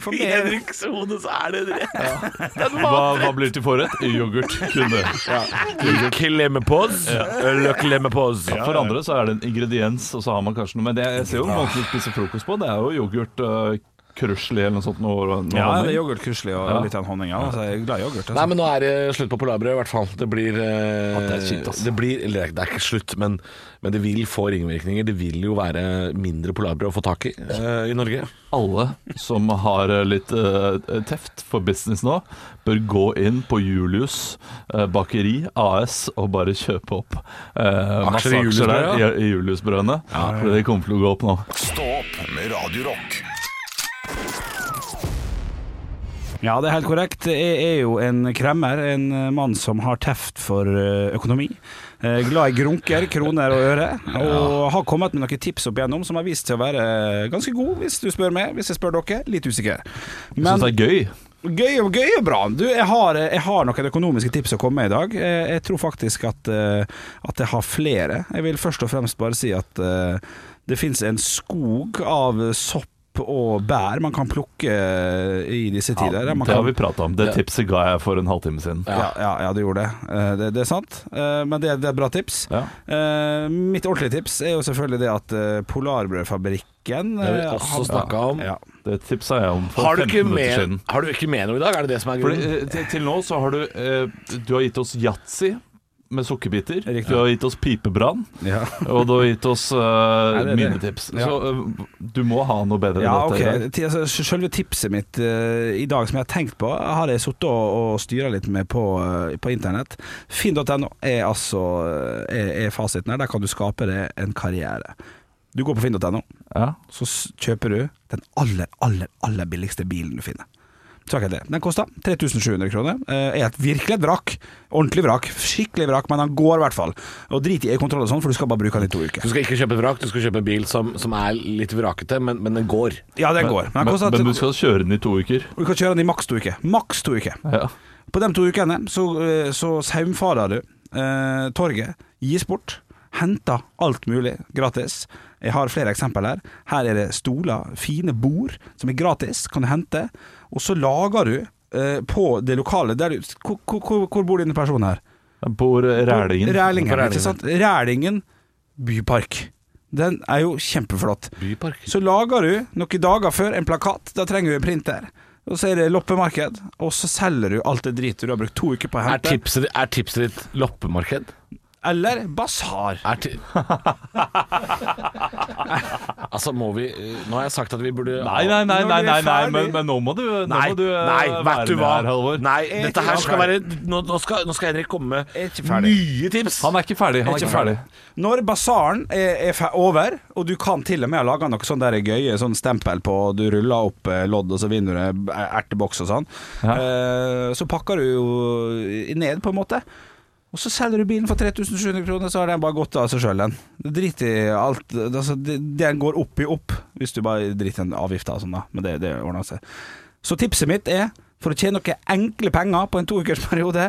C: For
E: I
C: meg
E: Henriks hode så er det det. Det er
D: Hva,
E: en matrett.
D: hva blir til
E: [LAUGHS]
D: forrett? Yoghurt. Kun det.
E: Klemmepoz. Eller klemmepoz.
D: For andre så er det en ingrediens, og så har man kanskje noe. Men det jeg ser jo
C: Ah.
D: måten du spiser frokost på, det er jo yoghurt uh, krusli eller noe sånt. Noe, noe
C: Ja,
D: honning.
C: det er yoghurtkuslig og
D: Ja.
C: litt av en honning. Ja. Altså, jeg er glad i yoghurt.
E: Nei,
C: Altså.
E: men nå er det slutt på polarbrød, i hvert fall. Det blir eh,
D: det er kjipt, ass.
E: det blir, eller det er- det er ikke slutt, men, men det vil få ringvirkninger. Det vil jo være mindre polarbrød å få tak i eh, i Norge.
D: Alle som har eh, litt eh, teft for business nå, bør gå inn på Julius eh, Bakeri AS og bare kjøpe opp eh, masse
E: i
D: aksjer der
E: Juliusbrød,
D: i, i Juliusbrødene. For det kommer til å gå opp nå.
A: Stå opp med Radio Rock.
C: Ja, det er helt korrekt. Jeg er jo en kremmer, en eh, mann som har teft for eh, økonomi. Eh, Glad i grunker, kroner og øre. Og har kommet med noen tips opp igjennom som har eh, vist seg å være ganske gode, hvis du spør meg. Hvis jeg spør dere. Litt usikker.
D: Jeg syns det er gøy.
C: Gøy, og- gøy og bra. Du, jeg har, eh, jeg har noen økonomiske tips å komme med i dag. Jeg, jeg tror faktisk at, eh, at jeg har flere. Jeg vil først og fremst bare si at eh, det fins en skog av sopp og bær man kan plukke eh, i disse tider. man
D: det
C: kan,
D: har vi prata om. Det tipset ga jeg for en halvtime siden.
C: ja, ja, ja, du gjorde det. Eh, det. Det er sant, Eh, men det, det er et bra tips.
D: Ja.
C: Eh, mitt ordentlige tips er jo selvfølgelig det at eh, Polarbrødfabrikken
E: Det har vi
C: eh,
E: også
C: har-
E: snakket om.
C: Ja.
D: Det tipsa jeg om for
E: Har du, ikke
D: 15 minutter
E: med,
D: siden.
E: har du ikke med noe i dag? Er det det som er
D: Fordi,
E: grunnen?
D: eh, til, til nå så har du eh, Du har gitt oss yatzy med sukkerbiter.
C: Riktig.
D: Du har gitt oss pipebrann,
C: Ja.
D: og du har gitt oss eh,
C: det er det.
D: minnetips.
C: Ja.
D: Så eh, du må ha noe bedre
C: Ja,
D: enn
C: ok.
D: dette. i dag.
C: Ti- altså, sj- Selve tipset mitt eh, i dag som jeg har tenkt på, har jeg sittet og, og styra litt med på, eh, på internett. Finn.no er altså eh, er, er fasiten her. Der kan du skape deg en karriere. Du går på finn.no,
D: Ja.
C: så s- kjøper du den aller, aller, aller billigste bilen du finner. Så er ikke det. Den kosta 3700 kroner. Eh, Er et virkelig et vrak. Ordentlig vrak. Skikkelig vrak, men han går i hvert fall. Og drit i e-kontroll og sånn, for du skal bare bruke den i to uker.
E: Du skal ikke kjøpe vrak, du skal kjøpe en bil som, som er litt vrakete, men, men den går.
C: Ja, den går. Men, den
D: Men,
C: koster-
D: men du skal kjøre den i to uker.
C: Og du kan kjøre den i maks to uker. Maks to uker.
D: Ja.
C: På de to ukene så, eh, så saumfarer du eh, torget, gis bort, henter alt mulig gratis. Jeg har flere eksempel her. Her er det stoler, fine bord som er gratis, kan du hente. Og så lager du eh, på det lokale der du, hvor, hvor- hvor, hvor bor denne personen her?
D: Jeg bor i Rælingen.
C: Rælingen,
E: På Rælingen.
C: ikke sant? Rælingen bypark. Den er jo kjempeflott.
E: Bypark.
C: Så lager du noen dager før en plakat, da trenger du en printer. Og så er det loppemarked, og så selger du alt det dritet du har brukt to uker på å
E: Er
C: hente.
E: tipset, er tipset ditt loppemarked?
C: Eller basar.
E: Er ti [LAUGHS] altså, må vi Nå har jeg sagt at vi burde
D: Nei, nei, nei,
C: Når vi
D: nei,
C: er
D: nei, nei
C: ferdig-
D: men, men nå må du, nå
E: Nei,
D: må du eh,
E: nei,
D: være
E: vet du
D: med
E: hva?
D: her, Halvor.
E: Nei,
C: Jeg er
E: dette
C: ikke
E: her
C: ferdig.
E: skal være Nå, nå, skal, nå skal Henrik komme med
C: Jeg er ikke ferdig.
E: nye tips.
D: Han er ikke ferdig. Han er ikke ferdig.
C: Når basaren er, er fe- over, og du kan til og med ha laga noe sånn der gøye sånn stempel på Du ruller opp eh, lodd, og så vinner du en erteboks og sånn. Eh, så pakker du jo ned, på en måte. Og så selger du bilen for 3700 kroner, så har den bare gått av seg sjøl, den. Drit i alt. Altså, det- den går opp i opp, hvis du bare driter i den avgifta og sånn, da. Men det, det ordner seg. Så tipset mitt er, for å tjene noen enkle penger på en toukersperiode,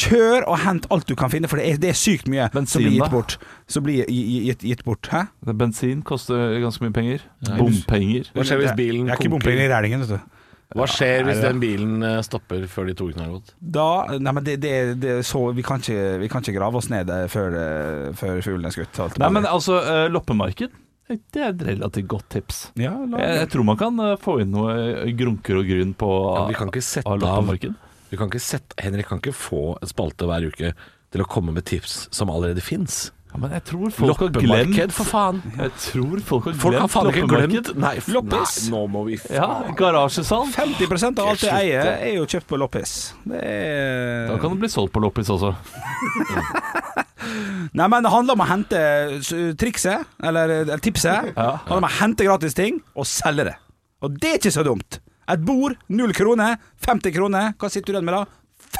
C: kjør og hent alt du kan finne, for det er, det er sykt mye som
D: Bensin,
C: blir
D: da?
C: gitt bort. Som blir gi- gi- gitt, gitt bort. Hæ?
D: Bensin koster ganske mye penger. Bompenger.
E: Hva skjer hvis bilen
C: Jeg er ikke
E: konker?
C: bompenger i Rælingen, vet du.
E: Hva skjer hvis den bilen eh, stopper før de to ukene har gått?
C: Da, nei, men det, det, det er så, vi, kan ikke, vi kan ikke grave oss ned eh, før, eh, før fuglen er skutt. alt det
D: Nei,
C: mulig.
D: men altså, eh, loppemarked, det er et relativt godt tips.
C: ja, la,
D: Jeg, jeg tror man kan eh, få inn noe eh, grunker og gryn på
E: Ja, vi kan ikke sette
D: av
E: av-
D: loppemarked.
E: Du kan ikke sette, Henrik kan ikke få en spalte hver uke til å komme med tips som allerede fins.
D: Ja, men jeg tror folk har glemt
E: Loppemarked, for faen!
D: Jeg tror folk har
E: Folk
D: glemt
E: har faen ikke
D: loppemarked.
E: glemt Nei, f-
C: Loppis.
E: nei, nå må vi
D: Ja,
E: faen
D: garasjesalg.
C: 50 av alt jeg
E: Slutt,
C: eier,
E: ja.
C: er jo kjøpt på loppis. Det
D: Da
C: er
D: kan det bli solgt på loppis også.
C: Nei, men det handler om å hente s- trikset, eller, eller tipset.
D: Ja.
C: Det handler om å hente gratis ting og selge det. Og det er ikke så dumt. Et bord, null kroner, 50 kroner. Hva sitter du igjen med da?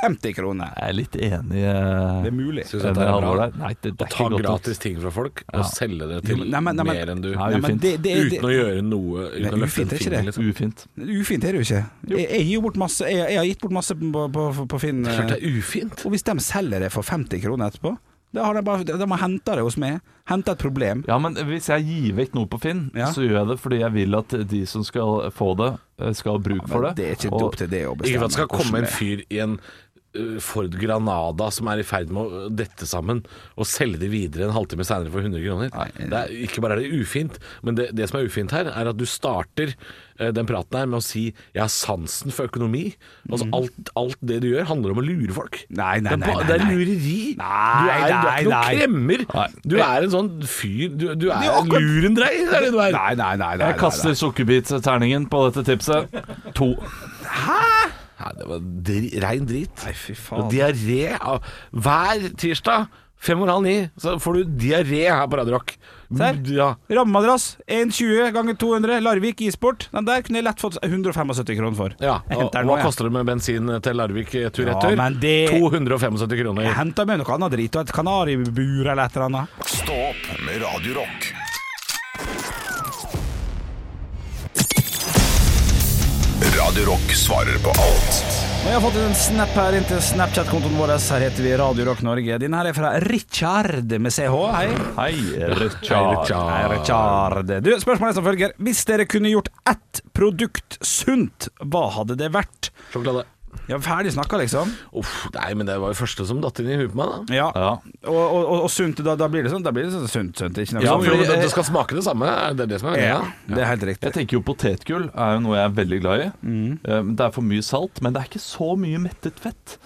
C: 50 kroner.
D: Jeg er litt enig
C: Det er
D: eh,
C: mulig.
E: Synes
D: enig
E: at det
D: med
E: er
D: Halvor
E: bra.
D: der. Nei, det, det er
E: Ta
D: ikke godt.
E: gratis ting fra folk og selge det til
C: Nei, men- nei, men-
E: mer enn du.
D: Nei,
C: Nei, men
D: ufint.
C: det, det, er-
E: uten å gjøre noe
C: Nei,
E: Uten å løfte
C: ufint
E: en
C: er ikke
E: finger.
C: det.
E: Liksom.
D: Ufint.
C: Ufint er det jo ikke. Jeg, jeg, gir jo bort masse, jeg, jeg har gitt bort masse på, på, på Finn. eh,
E: Det er klart det er ufint.
C: Og hvis de selger det for 50 kroner etterpå, da har de bare de har henta det hos meg. Henta et problem.
D: Ja, men hvis jeg gir vekk noe på Finn,
C: Ja.
D: så gjør jeg det fordi jeg vil at de som skal få det, eh, skal ha bruk for
C: Men
D: det.
C: det er ikke
D: Og-
C: opp til det å bestemme.
E: Ikke for at det skal
C: hvordan
E: komme en
C: det er.
E: fyr i en uh, Ford Granada som er i ferd med å dette sammen, og selge det videre en halvtime seinere for 100 kroner. Det er, ikke bare er det ufint, men det, det som er ufint her, er at du starter uh, den praten her med å si 'jeg har sansen for økonomi'. Altså alt, alt det du gjør, handler om å lure folk.
C: Mm. Nei, nei,
E: Det er
C: nei,
E: ba-
C: nei,
E: Det er
C: nei.
E: lureri.
C: Nei,
E: du, er, du er ikke
C: nei, nei.
E: noen kremmer.
D: Nei.
E: Du er en sånn fyr Du, du er,
C: er jo
E: en
C: akkurat-
E: lurendreier, er det du er.
C: Nei, nei, nei. nei
D: Jeg kaster sukkerbit-terningen på dette tipset. To.
E: Nei, det var dri, rein drit.
C: Nei, fy faen.
E: Og diaré av- Hver tirsdag fem over halv ni så får du diaré her på Radio Rock.
C: Der.
E: Ja.
C: Rammemadrass 1,20 ganger 200. Larvik isport. Den der kunne jeg lett fått 175 kroner for.
E: Ja,
C: Jeg
E: og,
C: henter den nå,
E: Hva
C: jeg.
E: koster det med bensin til Larvik eh,
C: Ja,
E: tur-retur?
C: men det-
E: 275 kroner.
C: Jeg henta med noe annet drit og et kanaribur eller et eller annet.
A: Stå opp med Radio Rock. Radio Radio Rock svarer på alt.
C: Og jeg har fått en snap her inn til Snapchat-kontoen vår. Her heter vi Radio Rock Norge. Din her er fra Richard med CH. Hei.
D: Hei, Richard.
E: Ah.
C: Hei, Richard. Du, spørsmålet er som følger. Hvis dere kunne gjort ett produkt sunt, hva hadde det vært?
E: Sjokolade.
C: Ja, ferdig snakka, liksom.
E: Uff, nei, men det var jo første som datt inn i huet på meg, da.
C: Ja.
D: Ja.
C: Og, og, og, og sunt, da, da blir det sånn Da blir det sånn sunt, sunt. Ikke noe
E: Ja,
C: sånn.
E: for det, det skal smake det samme, er det det som er
C: ja,
E: meningen?
C: det er helt riktig.
D: Jeg tenker jo Potetgull er jo noe jeg er veldig glad i.
C: Mm.
D: Eh, Det er for mye salt, men det er ikke så mye mettet fett.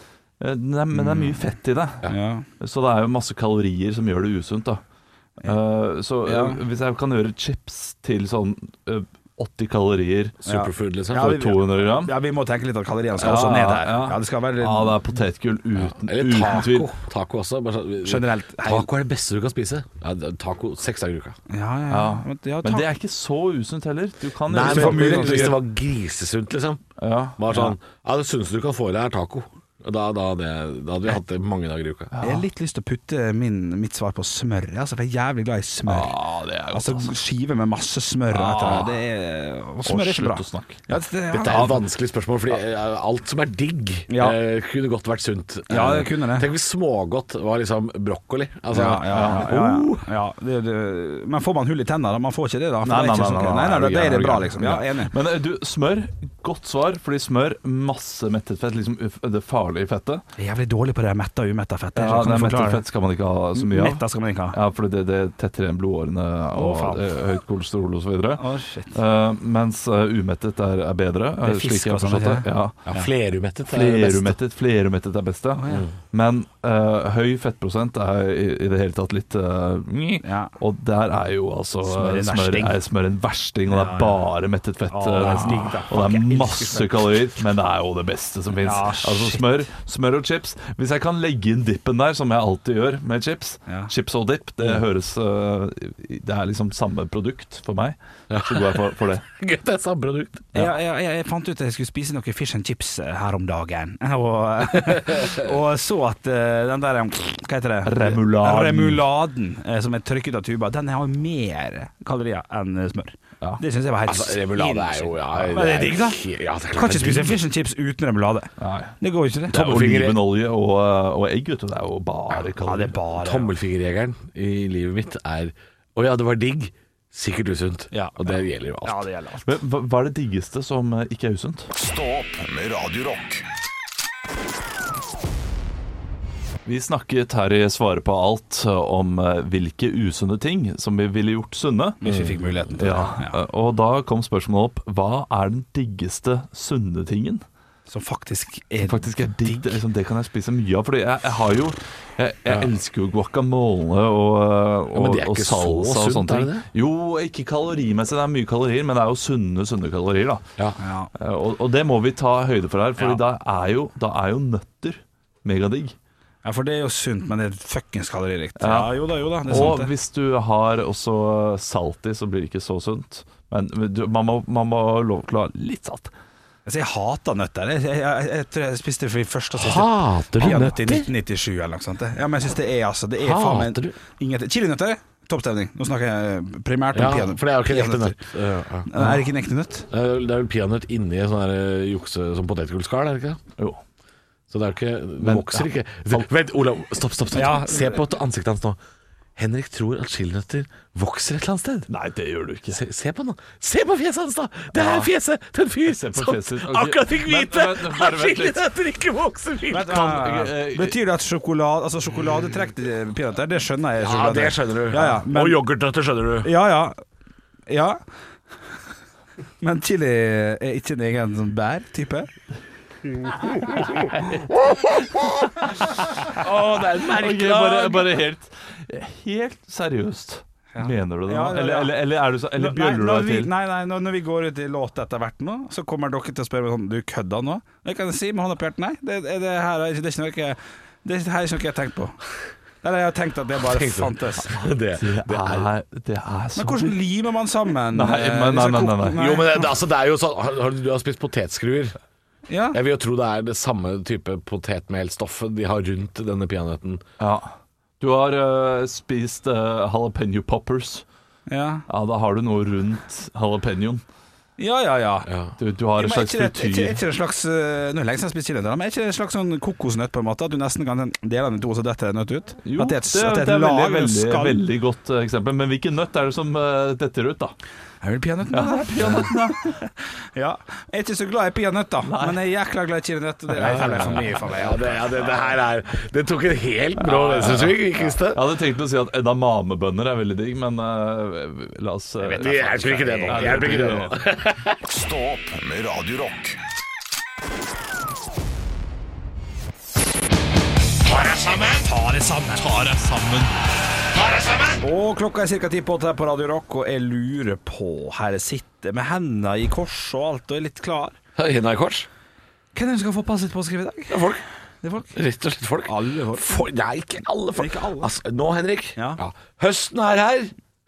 D: Eh, den er- Men det er
C: Mm.
D: mye fett i det.
C: Ja.
D: Så det er jo masse kalorier som gjør det usunt. da Eh, Så eh, hvis jeg kan gjøre chips til sånn eh, 80 kalorier
E: Superfood, liksom.
C: Ja,
D: for
C: vi-
D: 200 gram
C: ja, vi må tenke litt at kaloriene skal også ned her. Ja, det skal være
D: ja, det er potetgull uten,
E: Eller
D: uten tvil.
E: taco. Taco også. Bare, så-
C: Generelt.
E: Taco er det beste du kan spise. Ja, det- taco seks dager i uka.
C: Ja, ja, ja.
D: Ja.
C: Men, ja,
D: Men
C: takk.
D: det er ikke så usunt heller. Du kan
E: Nei,
D: gjøre
E: men
D: så mye
E: hvis
D: godt.
E: det var grisesunt, liksom.
D: ja.
E: Bare sånn Ja, det sunneste du kan få i deg, er taco. Da, da, det, da hadde vi hatt det mange dager i uka.
C: Jeg har litt lyst til å putte min, mitt svar på smør. Altså, for jeg er jævlig glad i smør.
D: Ja, det er godt.
C: altså, skive med masse smør. og et eller annet. Det er, og smør er ikke
D: slutt
C: bra.
D: å snakke.
C: Ja, det, ja.
E: Dette er et vanskelig spørsmål, fordi eh, alt som er digg,
C: Ja.
E: eh, kunne godt vært sunt.
C: Ja,
E: Eh,
C: det kunne det.
E: Tenk hvis smågodt var liksom brokkoli. Altså,
C: ja, ja,
E: uh,
C: ja, ja, ja. ja det, det. Men får man hull i tenna, da? Man får ikke det, da? For
D: Nei,
C: det er
D: nei,
C: ikke
D: nei,
C: sånn-
D: nei, nei,
C: nei,
D: er du
C: da er det
D: gæren,
C: bra,
D: er du
C: liksom. Ja, enig.
D: Men eh, du, smør. Godt svar, fordi smør, masse mettet fett, liksom uff, det farlige fettet.
C: Jeg er jævlig dårlig på det metta og umetta fett.
D: Ja, det er mettet fett skal man ikke ha så mye av.
C: Metta skal man ikke ha.
D: Ja, fordi det, det tetter igjen blodårene og
C: faen.
D: eh, høyt kolesterol osv.
C: Å, shit.
D: Uh, mens eh, umettet er, er bedre, eh,
C: Det er
D: slik
C: fisk
D: jeg har
C: og sånn,
D: forstått det.
C: ikke
D: Ja.
E: Ja, Flerumettet er det beste.
D: Flerumettet, flerumettet er best, ja. Men eh, høy fettprosent er i, i det hele tatt litt eh, nj.
C: Ja.
D: Og der er jo altså
C: Smør en
D: smør,
C: versting.
D: er smør en versting, og det er bare mettet fett.
C: Å, det er
D: eh, nesten.
C: digg, da. Fuck, jeg elsker
D: og det er masse
C: smør.
D: kalorier, men det er jo det beste som fins.
C: Ja,
D: altså
C: shit.
D: smør, smør og chips. Hvis jeg kan legge inn dippen der, som jeg alltid gjør med chips,
C: Ja.
D: chips og dip, det høres eh, Det er liksom samme produkt for meg, så går jeg for,
C: [LAUGHS]
D: for det.
E: [LAUGHS] Gøy, det er samme produkt.
C: Jeg, jeg, jeg, jeg fant ut at jeg skulle spise noe fish and chips eh, her om dagen, [LAUGHS] og, eh, og så at eh, den der eh, Hva heter det?
D: Remuladen.
C: Remuladen eh, som er trykket av tuba, den har mer kalorier enn eh, smør.
D: Ja.
C: Det syns jeg var helt
E: Altså, remulade er jo ja,
C: Men det er digg, da.
E: he- Ja, det er
C: Du kan ikke
E: klart det er
C: spise
E: digg.
C: fish and chips uten remulade.
D: Nei.
C: Det går jo ikke, det.
D: Det er
E: Tommelfinger-
D: Olivenolje og, eh, og egg, vet du. Det er jo bare
C: Ja, det
D: kalorier.
C: er bare
E: Tommelfingerjegeren i livet mitt er Å ja, det var digg. Sikkert usunt.
C: Ja.
E: og det gjelder jo alt.
C: Ja, det gjelder alt.
D: Men hva, hva er det diggeste som eh, ikke er usunt?
A: Stå opp med Radio Rock.
D: Vi snakket her i Svaret på alt eh, om eh, hvilke usunne ting som vi ville gjort sunne.
E: Mm.
C: Hvis vi fikk muligheten til det.
D: Ja,
C: Ja.
D: eh, Og da kom spørsmålet opp Hva er den diggeste sunne tingen?
C: Som faktisk er
D: Faktisk er digg, det, liksom, det kan jeg spise mye av. Fordi jeg, jeg har jo Jeg, jeg elsker jo guacamole og, eh, og,
E: men det er
D: og
E: ikke så
D: salsa og
E: sunt,
D: sånne
E: er det
D: ting. Jo, ikke kalorimessig, det er mye kalorier, men det er jo sunne, sunne kalorier, da.
E: Ja.
C: Ja.
D: Eh, Og, og det må vi ta høyde for her, for
C: Ja.
D: da, er jo, da er jo nøtter megadigg.
C: ja, for det er jo sunt, men det er fuckings kaloririkt.
D: Ja.
C: Ja. jo da, jo da, det er
D: Og
C: sant. det.
D: hvis du har også salt i, så blir det ikke så sunt. Men du, man, må, man må ha lov til å ha litt salt.
C: Altså, jeg hater nøtter. Jeg, jeg, jeg, jeg tror jeg spiste for først og siste
E: Hater du
C: peanøtt i
E: nøtter?
C: 1997 eller noe sånt. Ja, men jeg synes det er altså Det er
E: Hater
C: faen meg
E: du?
C: ingenting. Chilinøtter, toppstemning. Nå snakker jeg eh, primært om
E: Ja,
C: peanøtter.
E: for det er jo ikke en ekte nøtt. Ja, ja.
C: Er det ikke en ekte nøtt?
E: Det er jo- det er jo peanøtt inni en sånn her, eh, jukse som potetgullskall, er det ikke det?
D: Jo.
E: Så det er jo ikke Det
D: Men-
E: vokser ikke. Se- Vent, Olav. Stopp, stopp. stopp.
C: Ja.
E: Se på ansiktet hans nå. Henrik tror at chilinøtter vokser et eller annet sted.
D: Nei, det gjør du ikke.
E: Se, se på han da. Se på fjeset hans, da! Det er fjeset til en fyr
D: Se på
E: som
D: fjeset, ok.
E: akkurat fikk
D: Men-
E: vite
D: men- bare
E: at
D: vent litt.
E: chilinøtter ikke vokser vilt.
D: Kan- eh, eh,
C: Betyr det at sjokolade Altså sjokoladetrekk til peanøtter, det skjønner jeg. sjokolade. Ja, ja, men,
E: Og yoghurtnøtter skjønner du.
C: ja, ja. ja. [LAUGHS] Men chili er ikke en egen sånn bær-type?
D: Ok, bare, bare helt, helt seriøst. Mener du det nå?
C: Ja, ja, ja.
D: Eller, eller, eller, er du så, eller
C: Nå-
D: bjøller
C: nei,
D: du
C: når
D: deg
C: vi-
D: til?
C: Nei, nei, når, når vi går ut i låt etter hvert nå, så kommer dere til å spørre meg sånn Du kødda nå? Det kan jeg si med hånda på hjertet. Nei, det, det, det, her, er, ikke- det, er ikke noe, jeg- det, er- det her er ikke noe jeg har tenkt på. Eller jeg har tenkt at det bare fantes.
E: Det,
D: Det er, det er så
C: Men hvordan limer man sammen
D: Nei,
C: eh,
D: men- nei,
C: disse
D: nei, nei,
C: kokene?
E: Jo, men det, det- altså, det er jo sånn har, har, Du har spist potetskruer.
C: Ja.
E: Jeg vil jo tro det er det samme type potetmelstoffet de har rundt denne peanøtten.
D: Ja. Du har eh, spist eh, jalapeno poppers.
C: ja.
D: Ja, da har du noe rundt jalapeñoen.
C: Ja, ja, ja.
D: Du, du har
C: Men
D: et
C: er
D: slags
C: ikke det, er ikke, er
D: frityr.
C: ikke det en slags eh, Nå er det lenge siden jeg har spist chili, da, men er ikke det en slags sånn kokosnøtt, på en måte? At du nesten kan dele den i to, og så detter det en nøtt ut?
D: Jo,
C: at det er et, at det er
D: det
C: et
D: veldig,
C: lag,
D: veldig,
C: veldig, skall.
D: veldig godt eh, eksempel. Men hvilken nøtt er det som eh, detter ut, da?
C: Er det peanøtten, da? [LAUGHS] Ja. Jeg er ikke så glad i peanøtter, men jeg er jækla glad i chilinøtter. Det er for meg, for mye for meg.
E: Ja, det, ja, det, det her er Det tok en helt brå venstresving, ikke sant?
D: Jeg hadde tenkt å si at edamamebønner er veldig digg, men eh, la oss eh,
E: Jeg hjelper ikke det nå. Jeg hjelper ikke det nå.
A: Stå opp med Radio Rock.
C: Og klokka er ca. ti på åtte her på Radio Rock, og jeg lurer på Her jeg sitter med hendene i kors og alt, og er litt klar.
E: Hendene i kors.
C: Hvem er det som skal få passet på å skrive i dag?
E: Det er folk.
C: Det er folk.
E: Rett og slett folk.
C: Alle folk.
E: For, nei, ikke alle folk.
C: Ikke alle.
E: Altså, nå, Henrik.
C: Ja.
E: Høsten er her.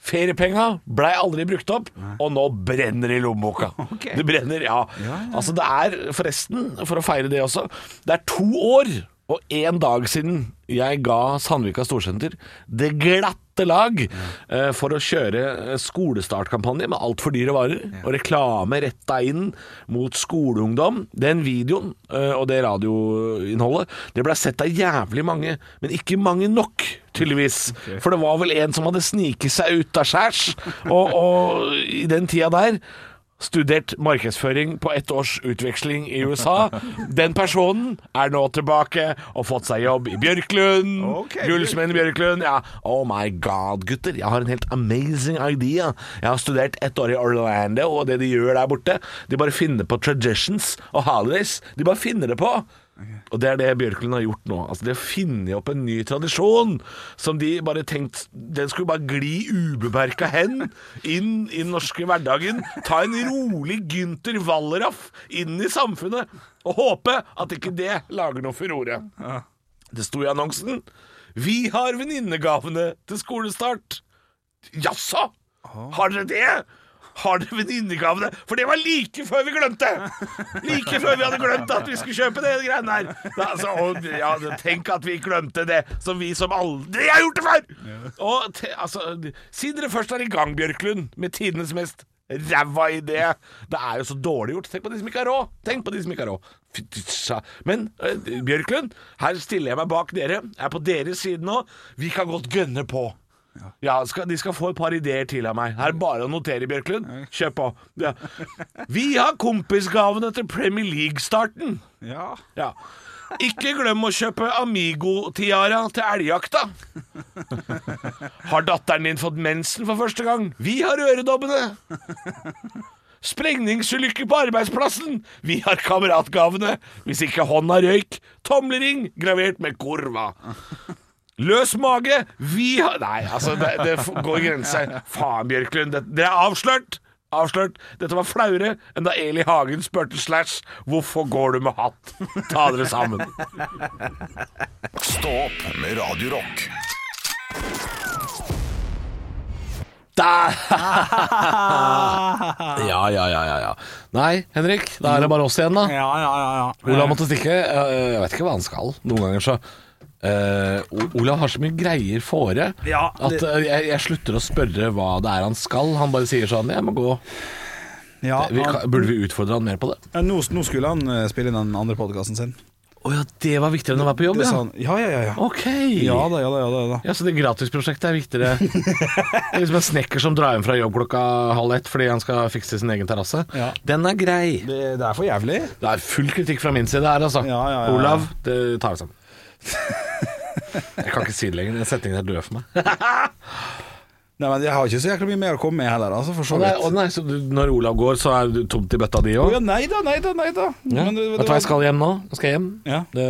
E: Feriepenga blei aldri brukt opp, og nå brenner det i lommeboka. [LAUGHS] Det brenner, ja. Altså, det er forresten, for å feire det også, det er to år og én dag siden jeg ga Sandvika Storsenter det glatte lag eh, for å kjøre eh, skolestartkampanje med altfor dyre varer, og reklame retta inn mot skoleungdom. Den videoen eh, og det radioinnholdet, det ble sett av jævlig mange, men ikke mange nok, tydeligvis. For det var vel en som hadde sniket seg ut av skjærs, og, og i den tida der Studert markedsføring på ett års utveksling i USA. Den personen er nå tilbake og fått seg jobb i Bjørklund.
C: Ok.
E: Gullsmeden Bjørklund. Ja. Oh my god, gutter. Jeg har en helt amazing idea. Jeg har studert ett år i Orlando, og det de gjør der borte De bare finner på traditions og holidays. De bare finner det på. Og det er det Bjørklund har gjort nå. Altså De har funnet opp en ny tradisjon som de bare tenkt Den skulle bare gli ubemerka hen inn i den norske hverdagen. Ta en rolig Gynter Wallraff inn i samfunnet, og håpe at ikke det lager noe furore. Det sto i annonsen. Vi har venninnegavene til skolestart. Jaså? Har dere det? Har dere venninnegavene? For det var like før vi glemte! Like før vi hadde glemt at vi skulle kjøpe det greiene her. Da, altså, og, ja, tenk at vi glemte det, som vi som aldri har gjort det før! Og, te, altså, siden dere først er i gang, Bjørklund, med tidenes mest ræva idé. Det er jo så dårlig gjort. Tenk på de som ikke har råd! Tenk på de som ikke har råd. Fytti sa- Men eh, Bjørklund, her stiller jeg meg bak dere. Jeg er på deres side nå. Vi kan godt gønne på. Ja, skal, De skal få et par ideer til av meg. Her er bare å notere, Bjørklund. Kjør på. Ja. Vi har kompisgavene til Premier League-starten.
C: Ja.
E: Ja. Ikke glem å kjøpe Amigo-tiara til elgjakta. Har datteren din fått mensen for første gang? Vi har øredobbene. Sprengningsulykke på arbeidsplassen? Vi har kameratgavene. Hvis ikke hånda røyk, tomlering gravert med kurva. Løs mage! Vi har Nei, altså, det, det f- går grenser. Faen, Bjørklund. det- Dere er avslørt! Avslørt. Dette var flauere enn da Eli Hagen spurte Slash 'Hvorfor går du med hatt?' Ta dere sammen.
A: Stå opp med Radio Rock.
E: [LAUGHS] Da. [LAUGHS] Ja, ja, ja, ja, ja. Nei, Henrik, da er det bare oss igjen, da.
C: Ja, ja, ja, ja.
E: Olav måtte stikke. Eh, Jeg vet ikke hva han skal. Noen ganger så eh, O- Olav har så mye greier fore
C: Ja,
E: at
C: det-
E: eh, jeg, jeg slutter å spørre hva det er han skal. Han bare sier sånn 'Jeg må gå'.
C: Eh, ja,
E: Vi,
C: han-
E: kan- burde vi utfordre han mer på det?
C: Ja, nå, nå skulle han eh, spille inn den andre podkasten sin.
E: Å ja, det var viktigere enn å være på jobb,
C: Det
E: ja.
C: sa han. Ja, ja, ja. ja.
E: Ok.
C: Ja da, ja da, ja da. Ja, da.
E: Ja, Så det gratisprosjektet
C: [LAUGHS]
E: er viktigere. Det er liksom en snekker som drar hjem fra jobb klokka halv ett fordi han skal fikse sin egen terrasse.
C: Ja.
E: Den er grei.
C: Det, det er for jævlig.
E: Det er full kritikk fra min side her, altså.
C: Ja, ja, ja.
E: Olav, det
C: [LAUGHS]
E: tar vi sammen. Jeg kan ikke si det lenger. Den setningen er død for meg.
C: Nei, men Jeg har ikke så jækla mye mer å komme med heller, altså, for så
E: Å nei,
C: vidt.
E: å nei, så du, når Olav går, så er du tomt i bøtta di
C: Å
E: òg?
C: ja, nei da, nei da, nei da.
E: Ja.
C: Men det- det
E: Vet du
C: var-
E: hva jeg skal hjem nå? Jeg skal hjem.
C: Ja.
E: Det,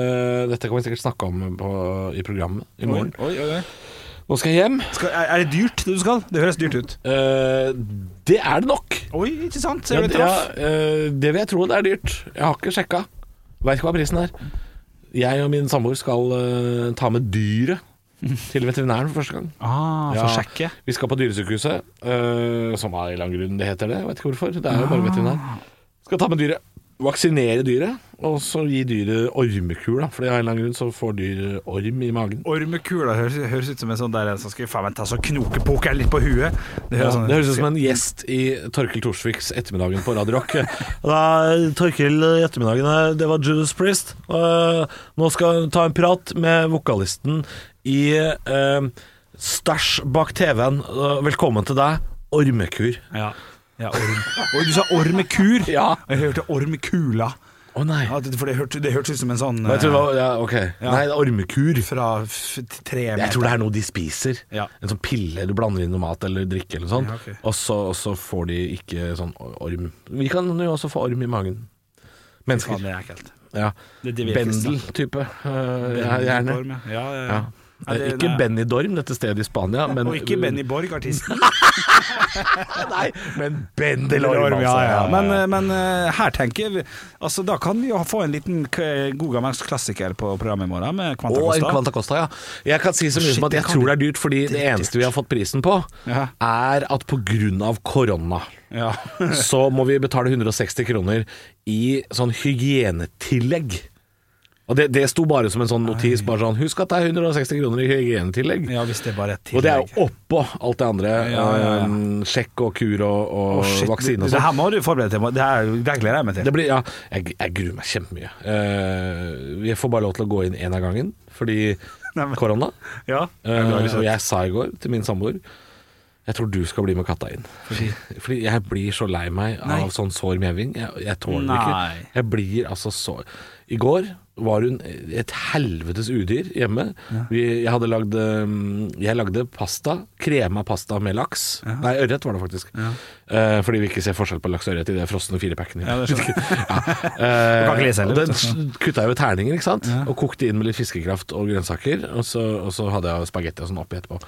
E: dette kan vi sikkert snakke om på, i programmet i
C: Oi,
E: morgen.
C: oi, oi, oi.
E: Nå skal jeg hjem.
C: Skal, er, er det dyrt, det du skal? Det høres dyrt ut.
E: Eh, det er det nok.
C: Oi, ikke sant?
E: Ja,
C: Ser du
E: det,
C: traff?
E: ja, eh, det vil jeg tro det er dyrt. Jeg har ikke sjekka. Veit ikke hva prisen er. Jeg og min samboer skal eh, ta med dyret til veterinæren for første gang.
C: Ah, for
E: Ja.
C: å sjekke.
E: Vi skal på dyresykehuset, Ah. eh, som av en eller annen grunn det heter det. Jeg vet ikke hvorfor. Det er jo bare veterinær. Skal ta med dyret. vaksinere dyret, og så gi dyret ormekul, da. Fordi av en eller annen grunn så får dyr orm i magen.
C: Ormekula høres, høres ut som en sånn der en som skal faen meg ta så knokepokeren litt på huet. Det høres
E: Ja,
C: sånn
E: det høres ut som en gjest i Torkel Torsviks 'Ettermiddagen på Radio [LAUGHS] Rock'. da, Torkel i ettermiddagen, eh, det var Judas Priest. Og, eh, nå skal hun ta en prat med vokalisten i eh, Stæsj bak TV-en. Og Velkommen til deg, Ormekur.
C: ja. Ja, orm. Oi, du sa ormekur.
E: Ja.
C: Og Jeg hørte ormekula.
E: Å nei.
C: Ja, det- for det hørtes det hørtes ut som en sånn
E: Jeg tror det
C: eh,
E: var, ja, ok. Nei, det er ormekur.
C: fra f tre
E: Jeg tror det er noe de spiser.
C: Ja.
E: En sånn pille du blander inn noe mat eller drikke eller sånn.
C: Ja, ok.
E: og, så, og så får de ikke sånn orm. Vi kan jo også få orm i magen.
C: Faen,
E: Mennesker.
C: det er ekkelt.
E: Ja.
C: Det- det virker
E: Bendel-type. eh, ja, gjerne.
C: Orm, ja. Ja, ja, ja.
E: Ja.
C: Nei, det-
E: Eh, ikke
C: nei.
E: Benny Dorm, dette stedet i Spania,
C: [LAUGHS]
E: men,
C: Og ikke Benny Borg, artisten.
E: [LAUGHS] Nei, men Bendelorm, altså.
C: Ja, ja. Men, eh, men eh, her tenker vi Altså, da kan vi jo få en liten k god gammelsk klassiker på programmet i morgen, med Kvanta
E: Og en
C: Costa.
E: Quanta Costa, ja. Jeg kan si så mye
C: Shit,
E: som at
C: det
E: jeg
C: kan
E: tror
C: du.
E: det er dyrt, fordi det eneste vi har fått prisen på,
C: Ja.
E: er at pga.
C: [LAUGHS]
E: korona
C: Ja.
E: så må vi betale 160 kroner i sånn hygienetillegg. Og det, det sto bare som en sånn notis, bare sånn Husk at det er 160 kroner i hygienetillegg.
C: ja, hvis det er bare et
E: Og det er
C: tillegg.
E: jo oppå alt det andre.
C: Ja, ja, ja.
E: eh, Sjekk og kur og, og
C: Å, shit,
E: vaksine og
C: Det
E: sånn.
C: her må du forberede deg til. Det her det her gleder jeg meg til.
E: Det blir, ja, jeg, jeg gruer meg kjempemye. Eh, jeg får bare lov til å gå inn én av gangen, fordi
C: [LAUGHS] Nei, men-
E: korona.
C: Ja.
E: Eh, og jeg sa i går til min samboer Jeg tror du skal bli med katta inn. Fordi, jeg blir så lei meg av
C: Nei.
E: sånn sår mjauing. Jeg, jeg tåler det
C: Nei.
E: ikke. Jeg blir altså så I går var hun et helvetes udyr hjemme. Vi, jeg hadde lagd um, Jeg lagde pasta, krema pasta med laks. Nei, ørret var det faktisk. Eh, fordi vi ikke ser forskjell på laks og ørret i det frosne firepacken.
C: Ja, det skjønner
E: [LAUGHS] Eh,
C: kan ikke lese heller,
E: og Den kutta jeg jo terninger, ikke sant? Og kokte inn med litt fiskekraft og grønnsaker. Og så, og så hadde jeg spagetti og sånn oppi etterpå.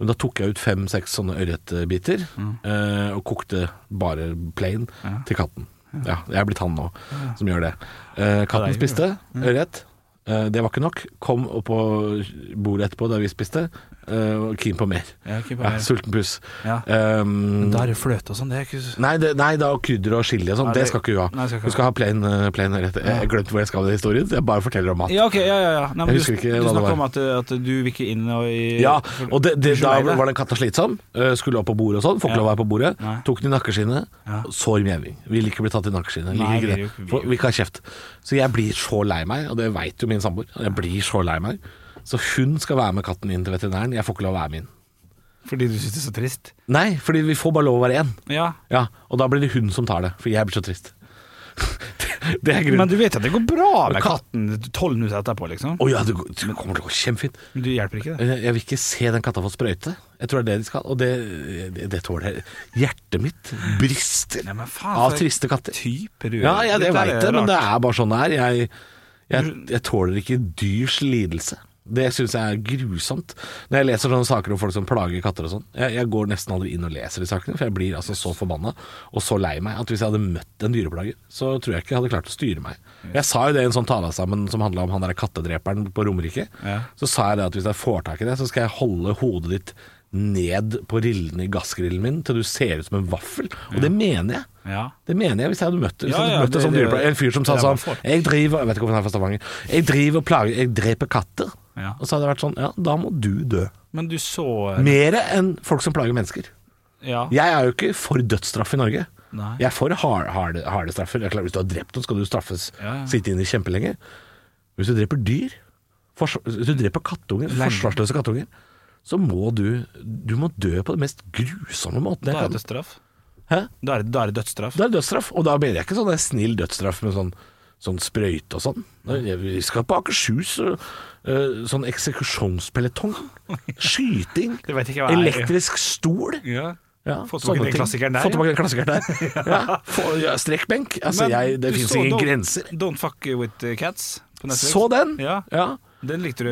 E: Men da tok jeg ut fem-seks sånne ørretbiter eh, og kokte bare plain til katten. Ja, jeg er blitt han nå som gjør det. Eh, katten spiste
C: altså.
E: ørret. Eh, det var ikke nok. Kom opp på bordet etterpå der vi spiste, eh, og keen på mer.
C: Ja, keen på
E: Ja,
C: mer.
E: sulten puss.
C: Ja.
E: Um,
C: Da er det fløte og sånn. Det er ikke
E: Nei, det, nei da, og krydder og chili og sånn.
C: Nei,
E: Det
C: det-
E: skal ikke hun ha.
C: Nei, det skal ikke
E: Hun skal ha plain, eh, plain rett. Jeg har glemt hvor jeg skal med den historien, så jeg bare forteller om mat.
C: Ja, ok, ja, ja, ja. Nei, men
E: Jeg husker
C: du,
E: ikke hva
C: du
E: det
C: snakket
E: var.
C: om at, eh, at du vil ikke inn og i
E: Ja, og det, det,
C: Unnskyld
E: da
C: meg, det.
E: var den katta slitsom. eh, Skulle opp på bordet og sånn. Får ikke
C: Ja.
E: lov å være på bordet.
C: Nei.
E: Tok den i nakkeskinnet.
C: Ja.
E: Sår mjauing. Vil ikke bli tatt i nakkeskinnet.
C: Nei, vil
E: Liker
C: jo
E: ikke
C: ikke-
E: det. Får, vil ikke ha kjeft. Så jeg blir så lei meg, og det veit jo min samboer. Jeg blir så lei meg. Så hun skal være med katten inn til veterinæren. Jeg får ikke lov å være med inn.
C: Fordi du synes det er så trist?
E: Nei, fordi vi får bare lov å være én.
C: Ja.
E: Ja, og da blir det hun som tar det, for jeg blir så trist. [LAUGHS] det, det er grunnen.
C: Men du vet at det går bra med
E: Men ka-
C: katten tolv minutter etterpå, liksom?
E: Å ja, det, går- det kommer til å gå kjempefint.
C: Men Du hjelper ikke det?
E: Jeg jeg vil ikke se den katta få sprøyte. Jeg tror det er det de skal. Og det, det, det tåler jeg. Hjertet mitt brister
C: Nei, men faen,
E: av
C: for-
E: triste katter.
C: Type du er.
E: Ja, ja, det
C: Dette
E: veit jeg, men det
C: rart.
E: er bare sånn det er. Jeg, jeg, jeg tåler ikke dyrs lidelse. Det syns jeg er grusomt. Når jeg leser sånne saker om folk som plager katter og sånn jeg, jeg går nesten aldri inn og leser de sakene, for jeg blir altså så forbanna og så lei meg at hvis jeg hadde møtt en dyreplager, så tror jeg ikke jeg hadde klart å styre meg. Jeg sa jo det i en sånn tale sammen som handla om han der kattedreperen på Romerike.
C: Ja.
E: Så sa jeg det at hvis jeg får tak i det, så skal jeg holde hodet ditt ned på rillene i gassgrillen min til du ser ut som en vaffel. Og det mener jeg.
C: Ja.
E: Det mener jeg hvis jeg hadde møtt, hvis
C: Ja,
E: jeg
C: ja,
E: hadde møtt
C: det-
E: en sånn
C: det-
E: dyrepleier. En fyr som sa
C: det er
E: sånn
C: man får.
E: Jeg driver Jeg vet ikke hvorfor han er fra Stavanger. Jeg driver og plager Jeg dreper katter.
C: Ja.
E: Og så hadde jeg vært sånn Ja, da må du dø.
C: Men du så
E: Mere enn folk som plager mennesker.
C: Ja.
E: Jeg er jo ikke for dødsstraff i Norge.
C: Nei.
E: Jeg er for hard, harde, harde straffer. Det er klart, Hvis du har drept noen, skal du straffes.
C: Ja, ja.
E: Sitte inne kjempelenge. Hvis du dreper dyr, fors hvis du dreper kattunger, forsvarsløse kattunger, så må du Du må dø på den mest grusomme måten
C: Da
E: jeg
C: er det
E: kan.
C: dødsstraff.
E: Hæ?
C: Da er det, da er det dødsstraff.
E: Det er dødsstraff, og da mener jeg ikke sånn der snill dødsstraff med sånn, sånn sprøyte og sånn. Nei, jeg- Vi skal på Akershus og eh, sånn eksekusjonspeletong.
C: [LAUGHS]
E: Skyting.
C: Det vet ikke hva jeg er.
E: Elektrisk stol.
C: Ja.
E: Ja,
C: Få tilbake
E: sånne
C: den
E: ting.
C: klassikeren der, ja.
E: Få tilbake den
C: [LAUGHS]
E: klassikeren der. Ja. Få- ja, Strekkbenk. Altså,
C: Men
E: jeg, det
C: du
E: fins
C: så
E: ingen
C: Don't-
E: grenser.
C: Don't fuck with cats på Netflix.
E: Så den?
C: Ja.
E: Ja.
C: Den likte du.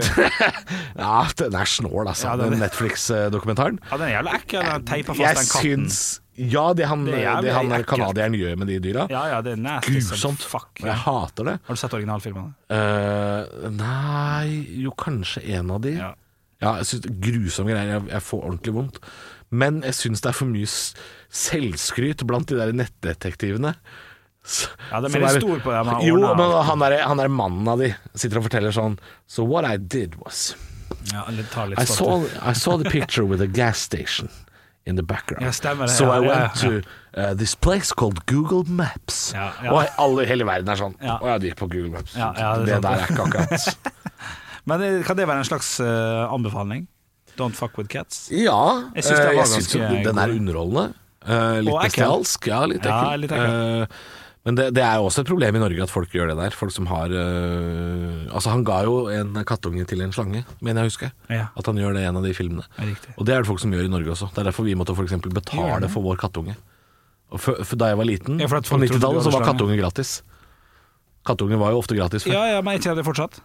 E: Ja, den er snål, altså,
C: Ja, det er
E: den
C: det.
E: Netflix-dokumentaren.
C: Ja, den er jævla ekkel. Den teipa fast
E: [LAUGHS] Jeg
C: den katten.
E: syns Ja, det han,
C: Det er jævlig
E: det han
C: ekkelt.
E: canadieren gjør med de dyra.
C: Ja, ja, det er nasty som
E: Grusomt.
C: fuck.
E: Jeg
C: Ja.
E: hater det.
C: Har du sett originalfilmene?
E: Eh, nei Jo, kanskje en av de. Ja,
C: Ja.
E: jeg synes, det er Grusomme greier. Jeg, jeg får ordentlig vondt. Men jeg syns det er for mye s- selvskryt blant de der nettdetektivene.
C: Ja, det er
E: Som
C: mer
E: er-
C: stor på det med
E: Jo,
C: årene.
E: men han der, han der mannen av de sitter og forteller sånn So what I did was
C: Ja, eller tar litt
E: I
C: stopp.
E: saw, I saw the picture with a gas station in the background.
C: Ja, stemmer det.
E: so
C: Ja,
E: I
C: ja,
E: went
C: ja.
E: to uh, this place called Google Maps.
C: Ja, ja.
E: Og alle i hele verden er sånn Å
C: Ja.
E: ja, du gikk på Google Maps.
C: Ja, ja,
E: det,
C: det er sant,
E: der er
C: [LAUGHS]
E: ikke akkurat
C: Men eh, kan det være en slags eh, anbefaling? Don't fuck with cats?
E: Ja,
C: Jeg synes den
E: eh,
C: var
E: synes
C: ganske
E: jo den er
C: god.
E: underholdende. eh, litt
C: Og ekkel.
E: bestialsk. Ja, litt ekkel.
C: Ja, litt ekkel.
E: Eh, men det, det er jo også et problem i Norge at folk gjør det der. Folk som har eh, Altså, han ga jo en kattunge til en slange, mener jeg å huske.
C: Ja.
E: At han gjør det i en av de filmene.
C: Ja, riktig.
E: Og det er det folk som gjør i Norge også. Det er derfor vi måtte for eksempel
C: Gjør
E: betale
C: det?
E: for vår kattunge. Og for, for da jeg var liten,
C: Ja, for at
E: på
C: folk trodde du
E: 90-tallet, så
C: hadde
E: var
C: slange.
E: kattunge gratis. Kattunge var jo ofte gratis før.
C: Ja, ja, men ikke er det fortsatt?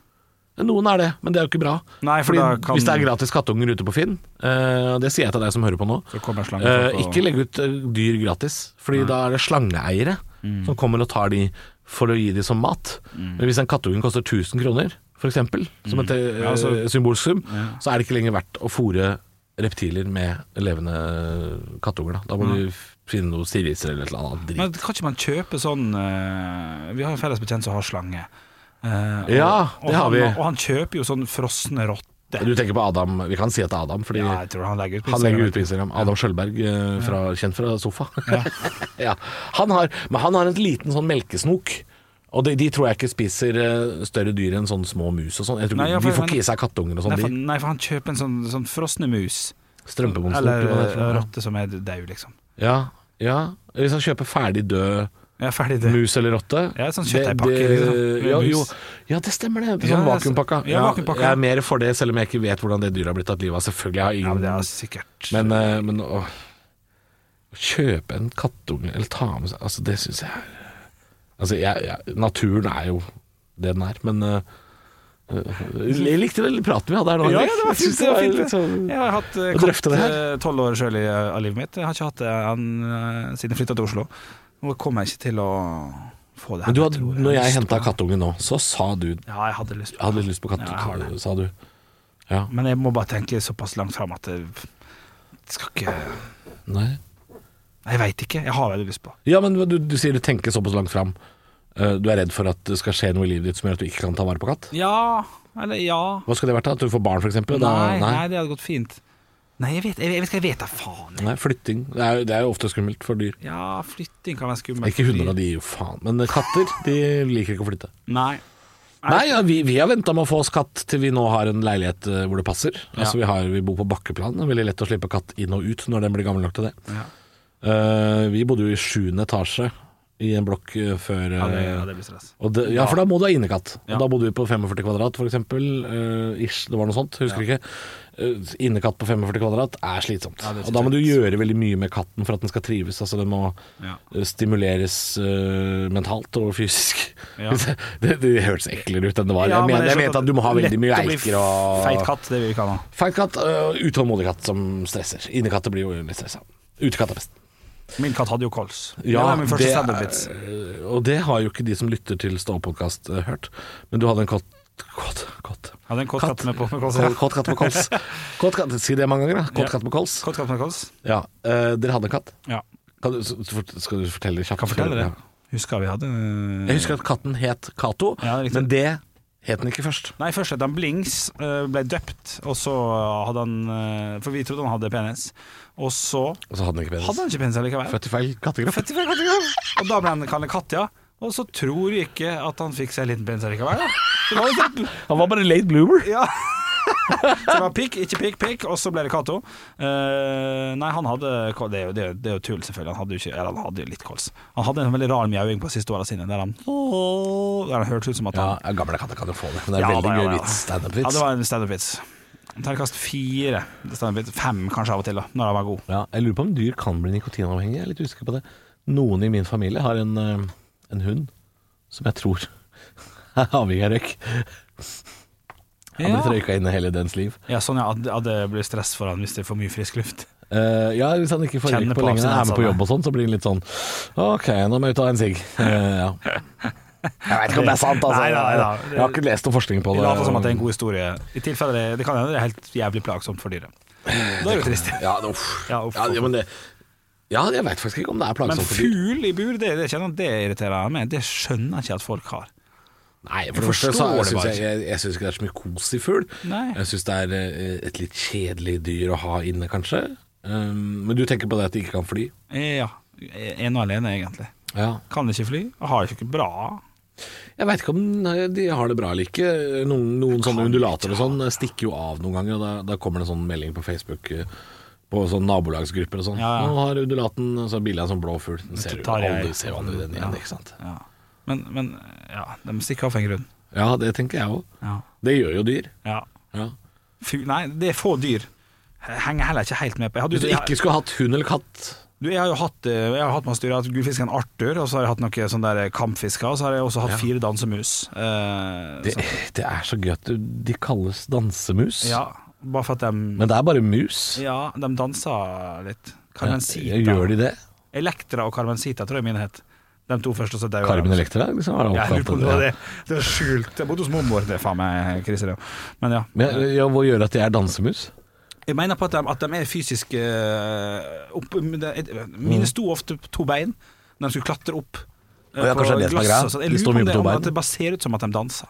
E: Noen er det, men det er jo ikke bra.
C: Nei, for
E: Fordi
C: da kan-
E: Hvis det er gratis kattunger ute på Finn, eh, og det sier jeg til deg som hører på nå
C: Så kommer slangen
E: eh,
C: folk og-
E: Ikke legg ut eh, dyr gratis, Fordi da er det slangeeiere
C: Mm.
E: som kommer og tar de for å gi de som mat. Men hvis en kattunge koster 1000 kroner, for eksempel, som et eh,
C: Ja, altså-
E: symbolsum, så er det ikke lenger verdt å fôre reptiler med levende kattunger. Da, da må du finne noe siriser eller et eller annet dritt.
C: Men kan ikke man kjøpe sånn eh, Vi har en felles bekjent som har slange. Eh,
E: Ja,
C: og
E: det har
C: han,
E: vi.
C: Og han kjøper jo sånn frosne rotter.
E: Du tenker på Adam, vi kan si at det er Adam, fordi
C: Ja, jeg tror han legger ut på
E: Han legger
C: Instagram.
E: ut på Instagram. Adam Skjølberg, eh, fra, kjent fra sofa. [LAUGHS] Ja. Han har, men han har en liten sånn melkesnok. Og de, de tror jeg ikke spiser eh, større dyr enn sånne små mus og sånn. Jeg tror
C: Nei, ja,
E: De
C: for-
E: får ikke i seg kattunger og
C: Nei for,
E: sånn.
C: nei, for han kjøper en sånn, sånn frosne mus. Eller eh,
E: Strømpebomsnok.
C: rotte som er daud, liksom.
E: Ja, ja. Hvis han kjøper ferdig død
C: Jeg er ferdig, det.
E: mus eller rotte
C: Ja, sånn
E: det-
C: kjøttdeigpakke,
E: det-
C: liksom, med
E: Ja,
C: mus.
E: jo, ja, det stemmer det.
C: Ja,
E: Sånn
C: det er-
E: vakuumpakka.
C: ja, vakuumpakka.
E: jeg er mer for det, selv om jeg ikke vet hvordan det dyret har blitt tatt livet av. Selvfølgelig jeg har
C: Ja,
E: ingen
C: men det er sikkert
E: Men, eh, men å å kjøpe en kattunge eller ta med seg Altså, det syns jeg er Altså, jeg, jeg, naturen er jo det den er, men eh, eh, Jeg likte vel praten vi hadde her nå.
C: Ja, ja,
E: Henrik.
C: det var
E: Jeg synes
C: fint, det var fint.
E: litt sånn-
C: Jeg har hatt eh,
E: Og drøfte det her.
C: katt tolv år sjøl i, eh, av livet mitt. Jeg har ikke hatt det eh, siden jeg flytta til Oslo. Nå kommer jeg ikke til å få det her.
E: Men du
C: jeg
E: hadde,
C: tror.
E: når
C: Jeg har
E: jeg
C: lyst
E: henta
C: på det.
E: kattunge nå, så sa du Jeg
C: Ja, jeg hadde lyst på
E: hadde litt lyst på
C: Ja, jeg har
E: kattunge,
C: det.
E: sa du. Ja.
C: Men jeg må bare tenke såpass langt fram at det det skal ikke Nei,
E: Nei.
C: Jeg veit ikke. Jeg har veldig lyst på.
E: Ja, men du, du sier du tenker såpass langt fram. Eh, Du er redd for at det skal skje noe i livet ditt som gjør at du ikke kan ta vare på katt?
C: Ja, eller ja
E: Hva skal det vært? da? At du får barn, f.eks.?
C: Nei, nei, det hadde gått fint. Nei, jeg vet, jeg, vet- jeg vet ikke, jeg vet da faen.
E: Nei, flytting. Det er, jo- det er jo ofte skummelt for dyr.
C: Ja, flytting kan være skummelt.
E: Ikke hunder, da,
C: fordi-
E: de gir jo faen. Men katter, de liker ikke å flytte.
C: Nei.
E: Nei, ja, vi, vi har venta med å få oss katt til vi nå har en leilighet eh, hvor det passer. Altså, vi, har, vi bor på bakkeplan. Det er veldig lett å slippe katt inn og ut når den blir gammel nok til det.
C: Ja.
E: Eh, vi bodde jo i sjuende etasje i en blokk eh, før
C: Ja, det,
E: eh,
C: ja, det blir stress.
E: og det, ja, for da må du ha innekatt.
C: Ja.
E: Og Da bodde vi på 45 kvadrat, for eksempel. eh, ish, det var noe sånt. Husker ikke. Eh, innekatt på 45 kvadrat er slitsomt.
C: Ja, det er
E: og da må du gjøre veldig mye med katten for at den skal trives. Altså Den må
C: Ja.
E: eh, stimuleres eh, mentalt og fysisk.
C: Ja.
E: det, [LAUGHS] det, det hørtes eklere ut enn det var.
C: Ja, men
E: jeg, mener, jeg
C: skjønner
E: mente at du må ha veldig mye
C: lett å bli
E: eiker og
C: Feit katt, det vil vi ikke ha nå.
E: Feit katt og utålmodig katt som stresser. Innekatter blir jo litt stressa. Utekatt er best.
C: Min katt hadde jo kols.
E: Ja,
C: det var min første
E: det
C: standup-vits.
E: er- Og det har jo ikke de som lytter til Stå-podkast hørt. Men du hadde en kott Kott, kott.
C: Hadde en kåt katt med på med kols. Ja.
E: Kott, kott katt med kols. Kott katt, si det mange ganger, da. Kott
C: Ja.
E: katt med kols.
C: Kåt katt med kols?
E: Ja. eh, dere hadde en katt.
C: Ja.
E: Kan du, s- fort- skal du fortelle det kjapt?
C: Kan fortelle det.
E: Ja.
C: Husker vi hadde
E: Jeg husker at katten het Cato,
C: Ja, det er riktig.
E: men det het den ikke først.
C: Nei, først het han Blings, eh, ble døpt, og så hadde han eh, For vi trodde han hadde penis. Og så
E: Og så hadde den ikke
C: hadde
E: penis.
C: han ikke penis allikevel.
E: Født i feil kattegrav.
C: Født i feil kategori. Og da ble han kalt Katja. Og så tror vi ikke at han fikk seg en liten penis allikevel. da. Så det var liksom
E: Han var bare late bloomer.
C: Ja [LAUGHS] Så det var pikk, ikke pikk, pikk, og så ble det Cato. Eh, nei, han hadde Det er jo, det er jo, det er jo tull, selvfølgelig. Han hadde jo ikke Eller han hadde jo litt kols. Han hadde en veldig rar mjauing på siste åra sine, der han Der han hørtes ut som at
E: Ja,
C: han
E: gamle katter kan jo få det, men det er
C: Ja, da,
E: veldig
C: ja,
E: mye
C: ja.
E: vits.
C: Ja,
E: Standup-vits.
C: det var en standup-vits. Terningkast fire. Standup-vits. Fem kanskje av og til, da, når han var god.
E: Ja, jeg lurer på om dyr kan bli nikotinavhengige. Jeg er litt usikker på det. Noen i min familie har en, eh, en hund som jeg tror [LAUGHS] er avhengig av røyk. Han har blitt røyka inne hele dens liv.
C: ja sånn ja, at- at det blir stress for han hvis det er for mye frisk luft.
E: Eh, ja, Hvis han ikke får røyk
C: Kjenner
E: på
C: på
E: lenge, er med på
C: abstinensene.
E: jobb og sånn, så blir han litt sånn OK, nå må jeg ut og ha en
C: [LAUGHS]
E: sigg. Eh, ja. Jeg veit ikke om det er sant, altså.
C: Nei, nei, nei.
E: Jeg har ikke lest noe forskning
C: Vi
E: på det.
C: later som at det er en god historie. I tilfelle det, Mm. det kan hende det er helt jævlig plagsomt for dyret. Da er det jo trist.
E: Ja, det- uff.
C: Ja, uff,
E: Ja,
C: uff.
E: ja, men det Ja, jeg veit faktisk ikke om det er
C: Men
E: plagsomt for dyr.
C: fugl i bur, det, det, kjenner, jeg- det irriterer jeg meg. Det skjønner jeg ikke at folk har.
E: Nei, for det første så
C: forstår det
E: syns
C: bare
E: jeg, jeg, jeg synes ikke det er så mye kos i fugl.
C: Nei.
E: Jeg syns det er eh, et litt kjedelig dyr å ha inne, kanskje. Um, men du tenker på det at de ikke kan fly?
C: Eh, Ja, en og alene egentlig.
E: Ja.
C: Kan ikke fly, og har ikke bra.
E: Jeg veit ikke om nei, de har det bra eller ikke. Noen, noen sånne undulater og sånn stikker jo av noen ganger, og da, da kommer det en sånn melding på Facebook eh, på sånn nabolagsgrupper og sånn.
C: Ja, ja.
E: Nå har undulaten og så har bildet av en sånn blå fugl. Den ser
C: Det
E: jo
C: tar jeg.
E: aldri, ser jo aldri den igjen, ikke sant.
C: Ja. Men, men ja, de stikker av for en grunn.
E: Ja, det tenker jeg òg.
C: Ja.
E: Det gjør jo dyr.
C: ja.
E: Ja.
C: Fugl- nei, det er få dyr. Jeg Henger heller ikke helt med på. Jeg, hadde,
E: Hvis du ikke
C: jeg,
E: skulle hatt hund eller katt
C: du, jeg har jo hatt, eh, jeg har hatt masse dyr. Jeg har hatt gullfisken Arthur, og så har jeg hatt noen sånne der eh, kampfisker, og så har jeg også hatt fire dansemus. Eh,
E: det,
C: så,
E: [LAUGHS] det er så gøy at du- de kalles dansemus.
C: ja, bare for at de
E: Men det er bare mus. Eh,
C: Ja, de danser litt. Carmencita.
E: Gjør de det?
C: Elektra og Carmencita tror jeg mine het. De to første, og så daua
E: Carmen
C: de.
E: Electra? Liksom, er det
C: Jeg lurer
E: oppkalt
C: på om det
E: etter-
C: var det. Det var skjult. Jeg bodde hos mormor, det er faen meg krise, det. Men ja.
E: Men, eh, ja, hva gjør at de er dansemus?
C: Jeg mener på at de, at de er fysisk eh, opp, det- Mine sto ofte på to bein når de skulle klatre opp. eh,
E: Mm. Å ja, kanskje det er det som er
C: glasset
E: greia.
C: og sånn. Jeg
E: De
C: lurer
E: står
C: på om
E: mye på
C: det,
E: to
C: om
E: bein.
C: at det bare ser ut som at de danser.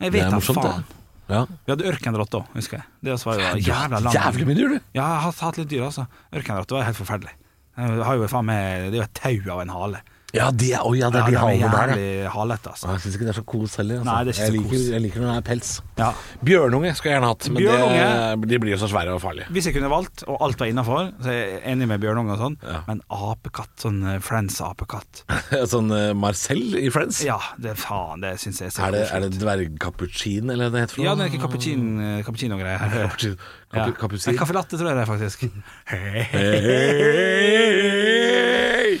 C: Jeg
E: Det
C: vet
E: er
C: da
E: morsomt,
C: faen.
E: det. Ja.
C: Vi hadde ørkenrotte òg, husker jeg. Det også var jo jævla langt.
E: Jævlig mye dyr, du.
C: Ja, jeg har hatt- hatt litt dyr, altså. Ørkenrotte var helt forferdelig. Jeg har jo faen meg, det er jo et tau av en hale.
E: Ja, de er, oh, ja, det er de
C: Ja, de
E: halene
C: er
E: der, ja.
C: jævlig halete, altså.
E: Jeg syns ikke det er så kos heller. Altså.
C: Nei, det er ikke
E: jeg,
C: så
E: liker,
C: kos.
E: jeg liker når det er pels.
C: Ja.
E: Bjørnunge skulle jeg gjerne hatt, men
C: Bjørnunge?
E: det, eh, de blir jo så svære og farlige. [LAUGHS]
C: Hvis jeg kunne valgt, og alt var innafor, så er jeg enig med Bjørnunge og sånn,
E: Ja.
C: men apekatt, sånn eh, Friends-apekatt
E: sånn eh, Marcel i Friends.
C: Ja, det faen, det syns jeg
E: Er det,
C: koselig
E: er det dvergkappucin, eller hva det heter for
C: Ja, det er ikke cappuccino, cappuccino-greier.
E: Cappuccin-
C: Ja.
E: kappu- Kappuccin.
C: Nei, Caffè latte tror jeg det er,
E: [LAUGHS]
C: faktisk.
E: Hei!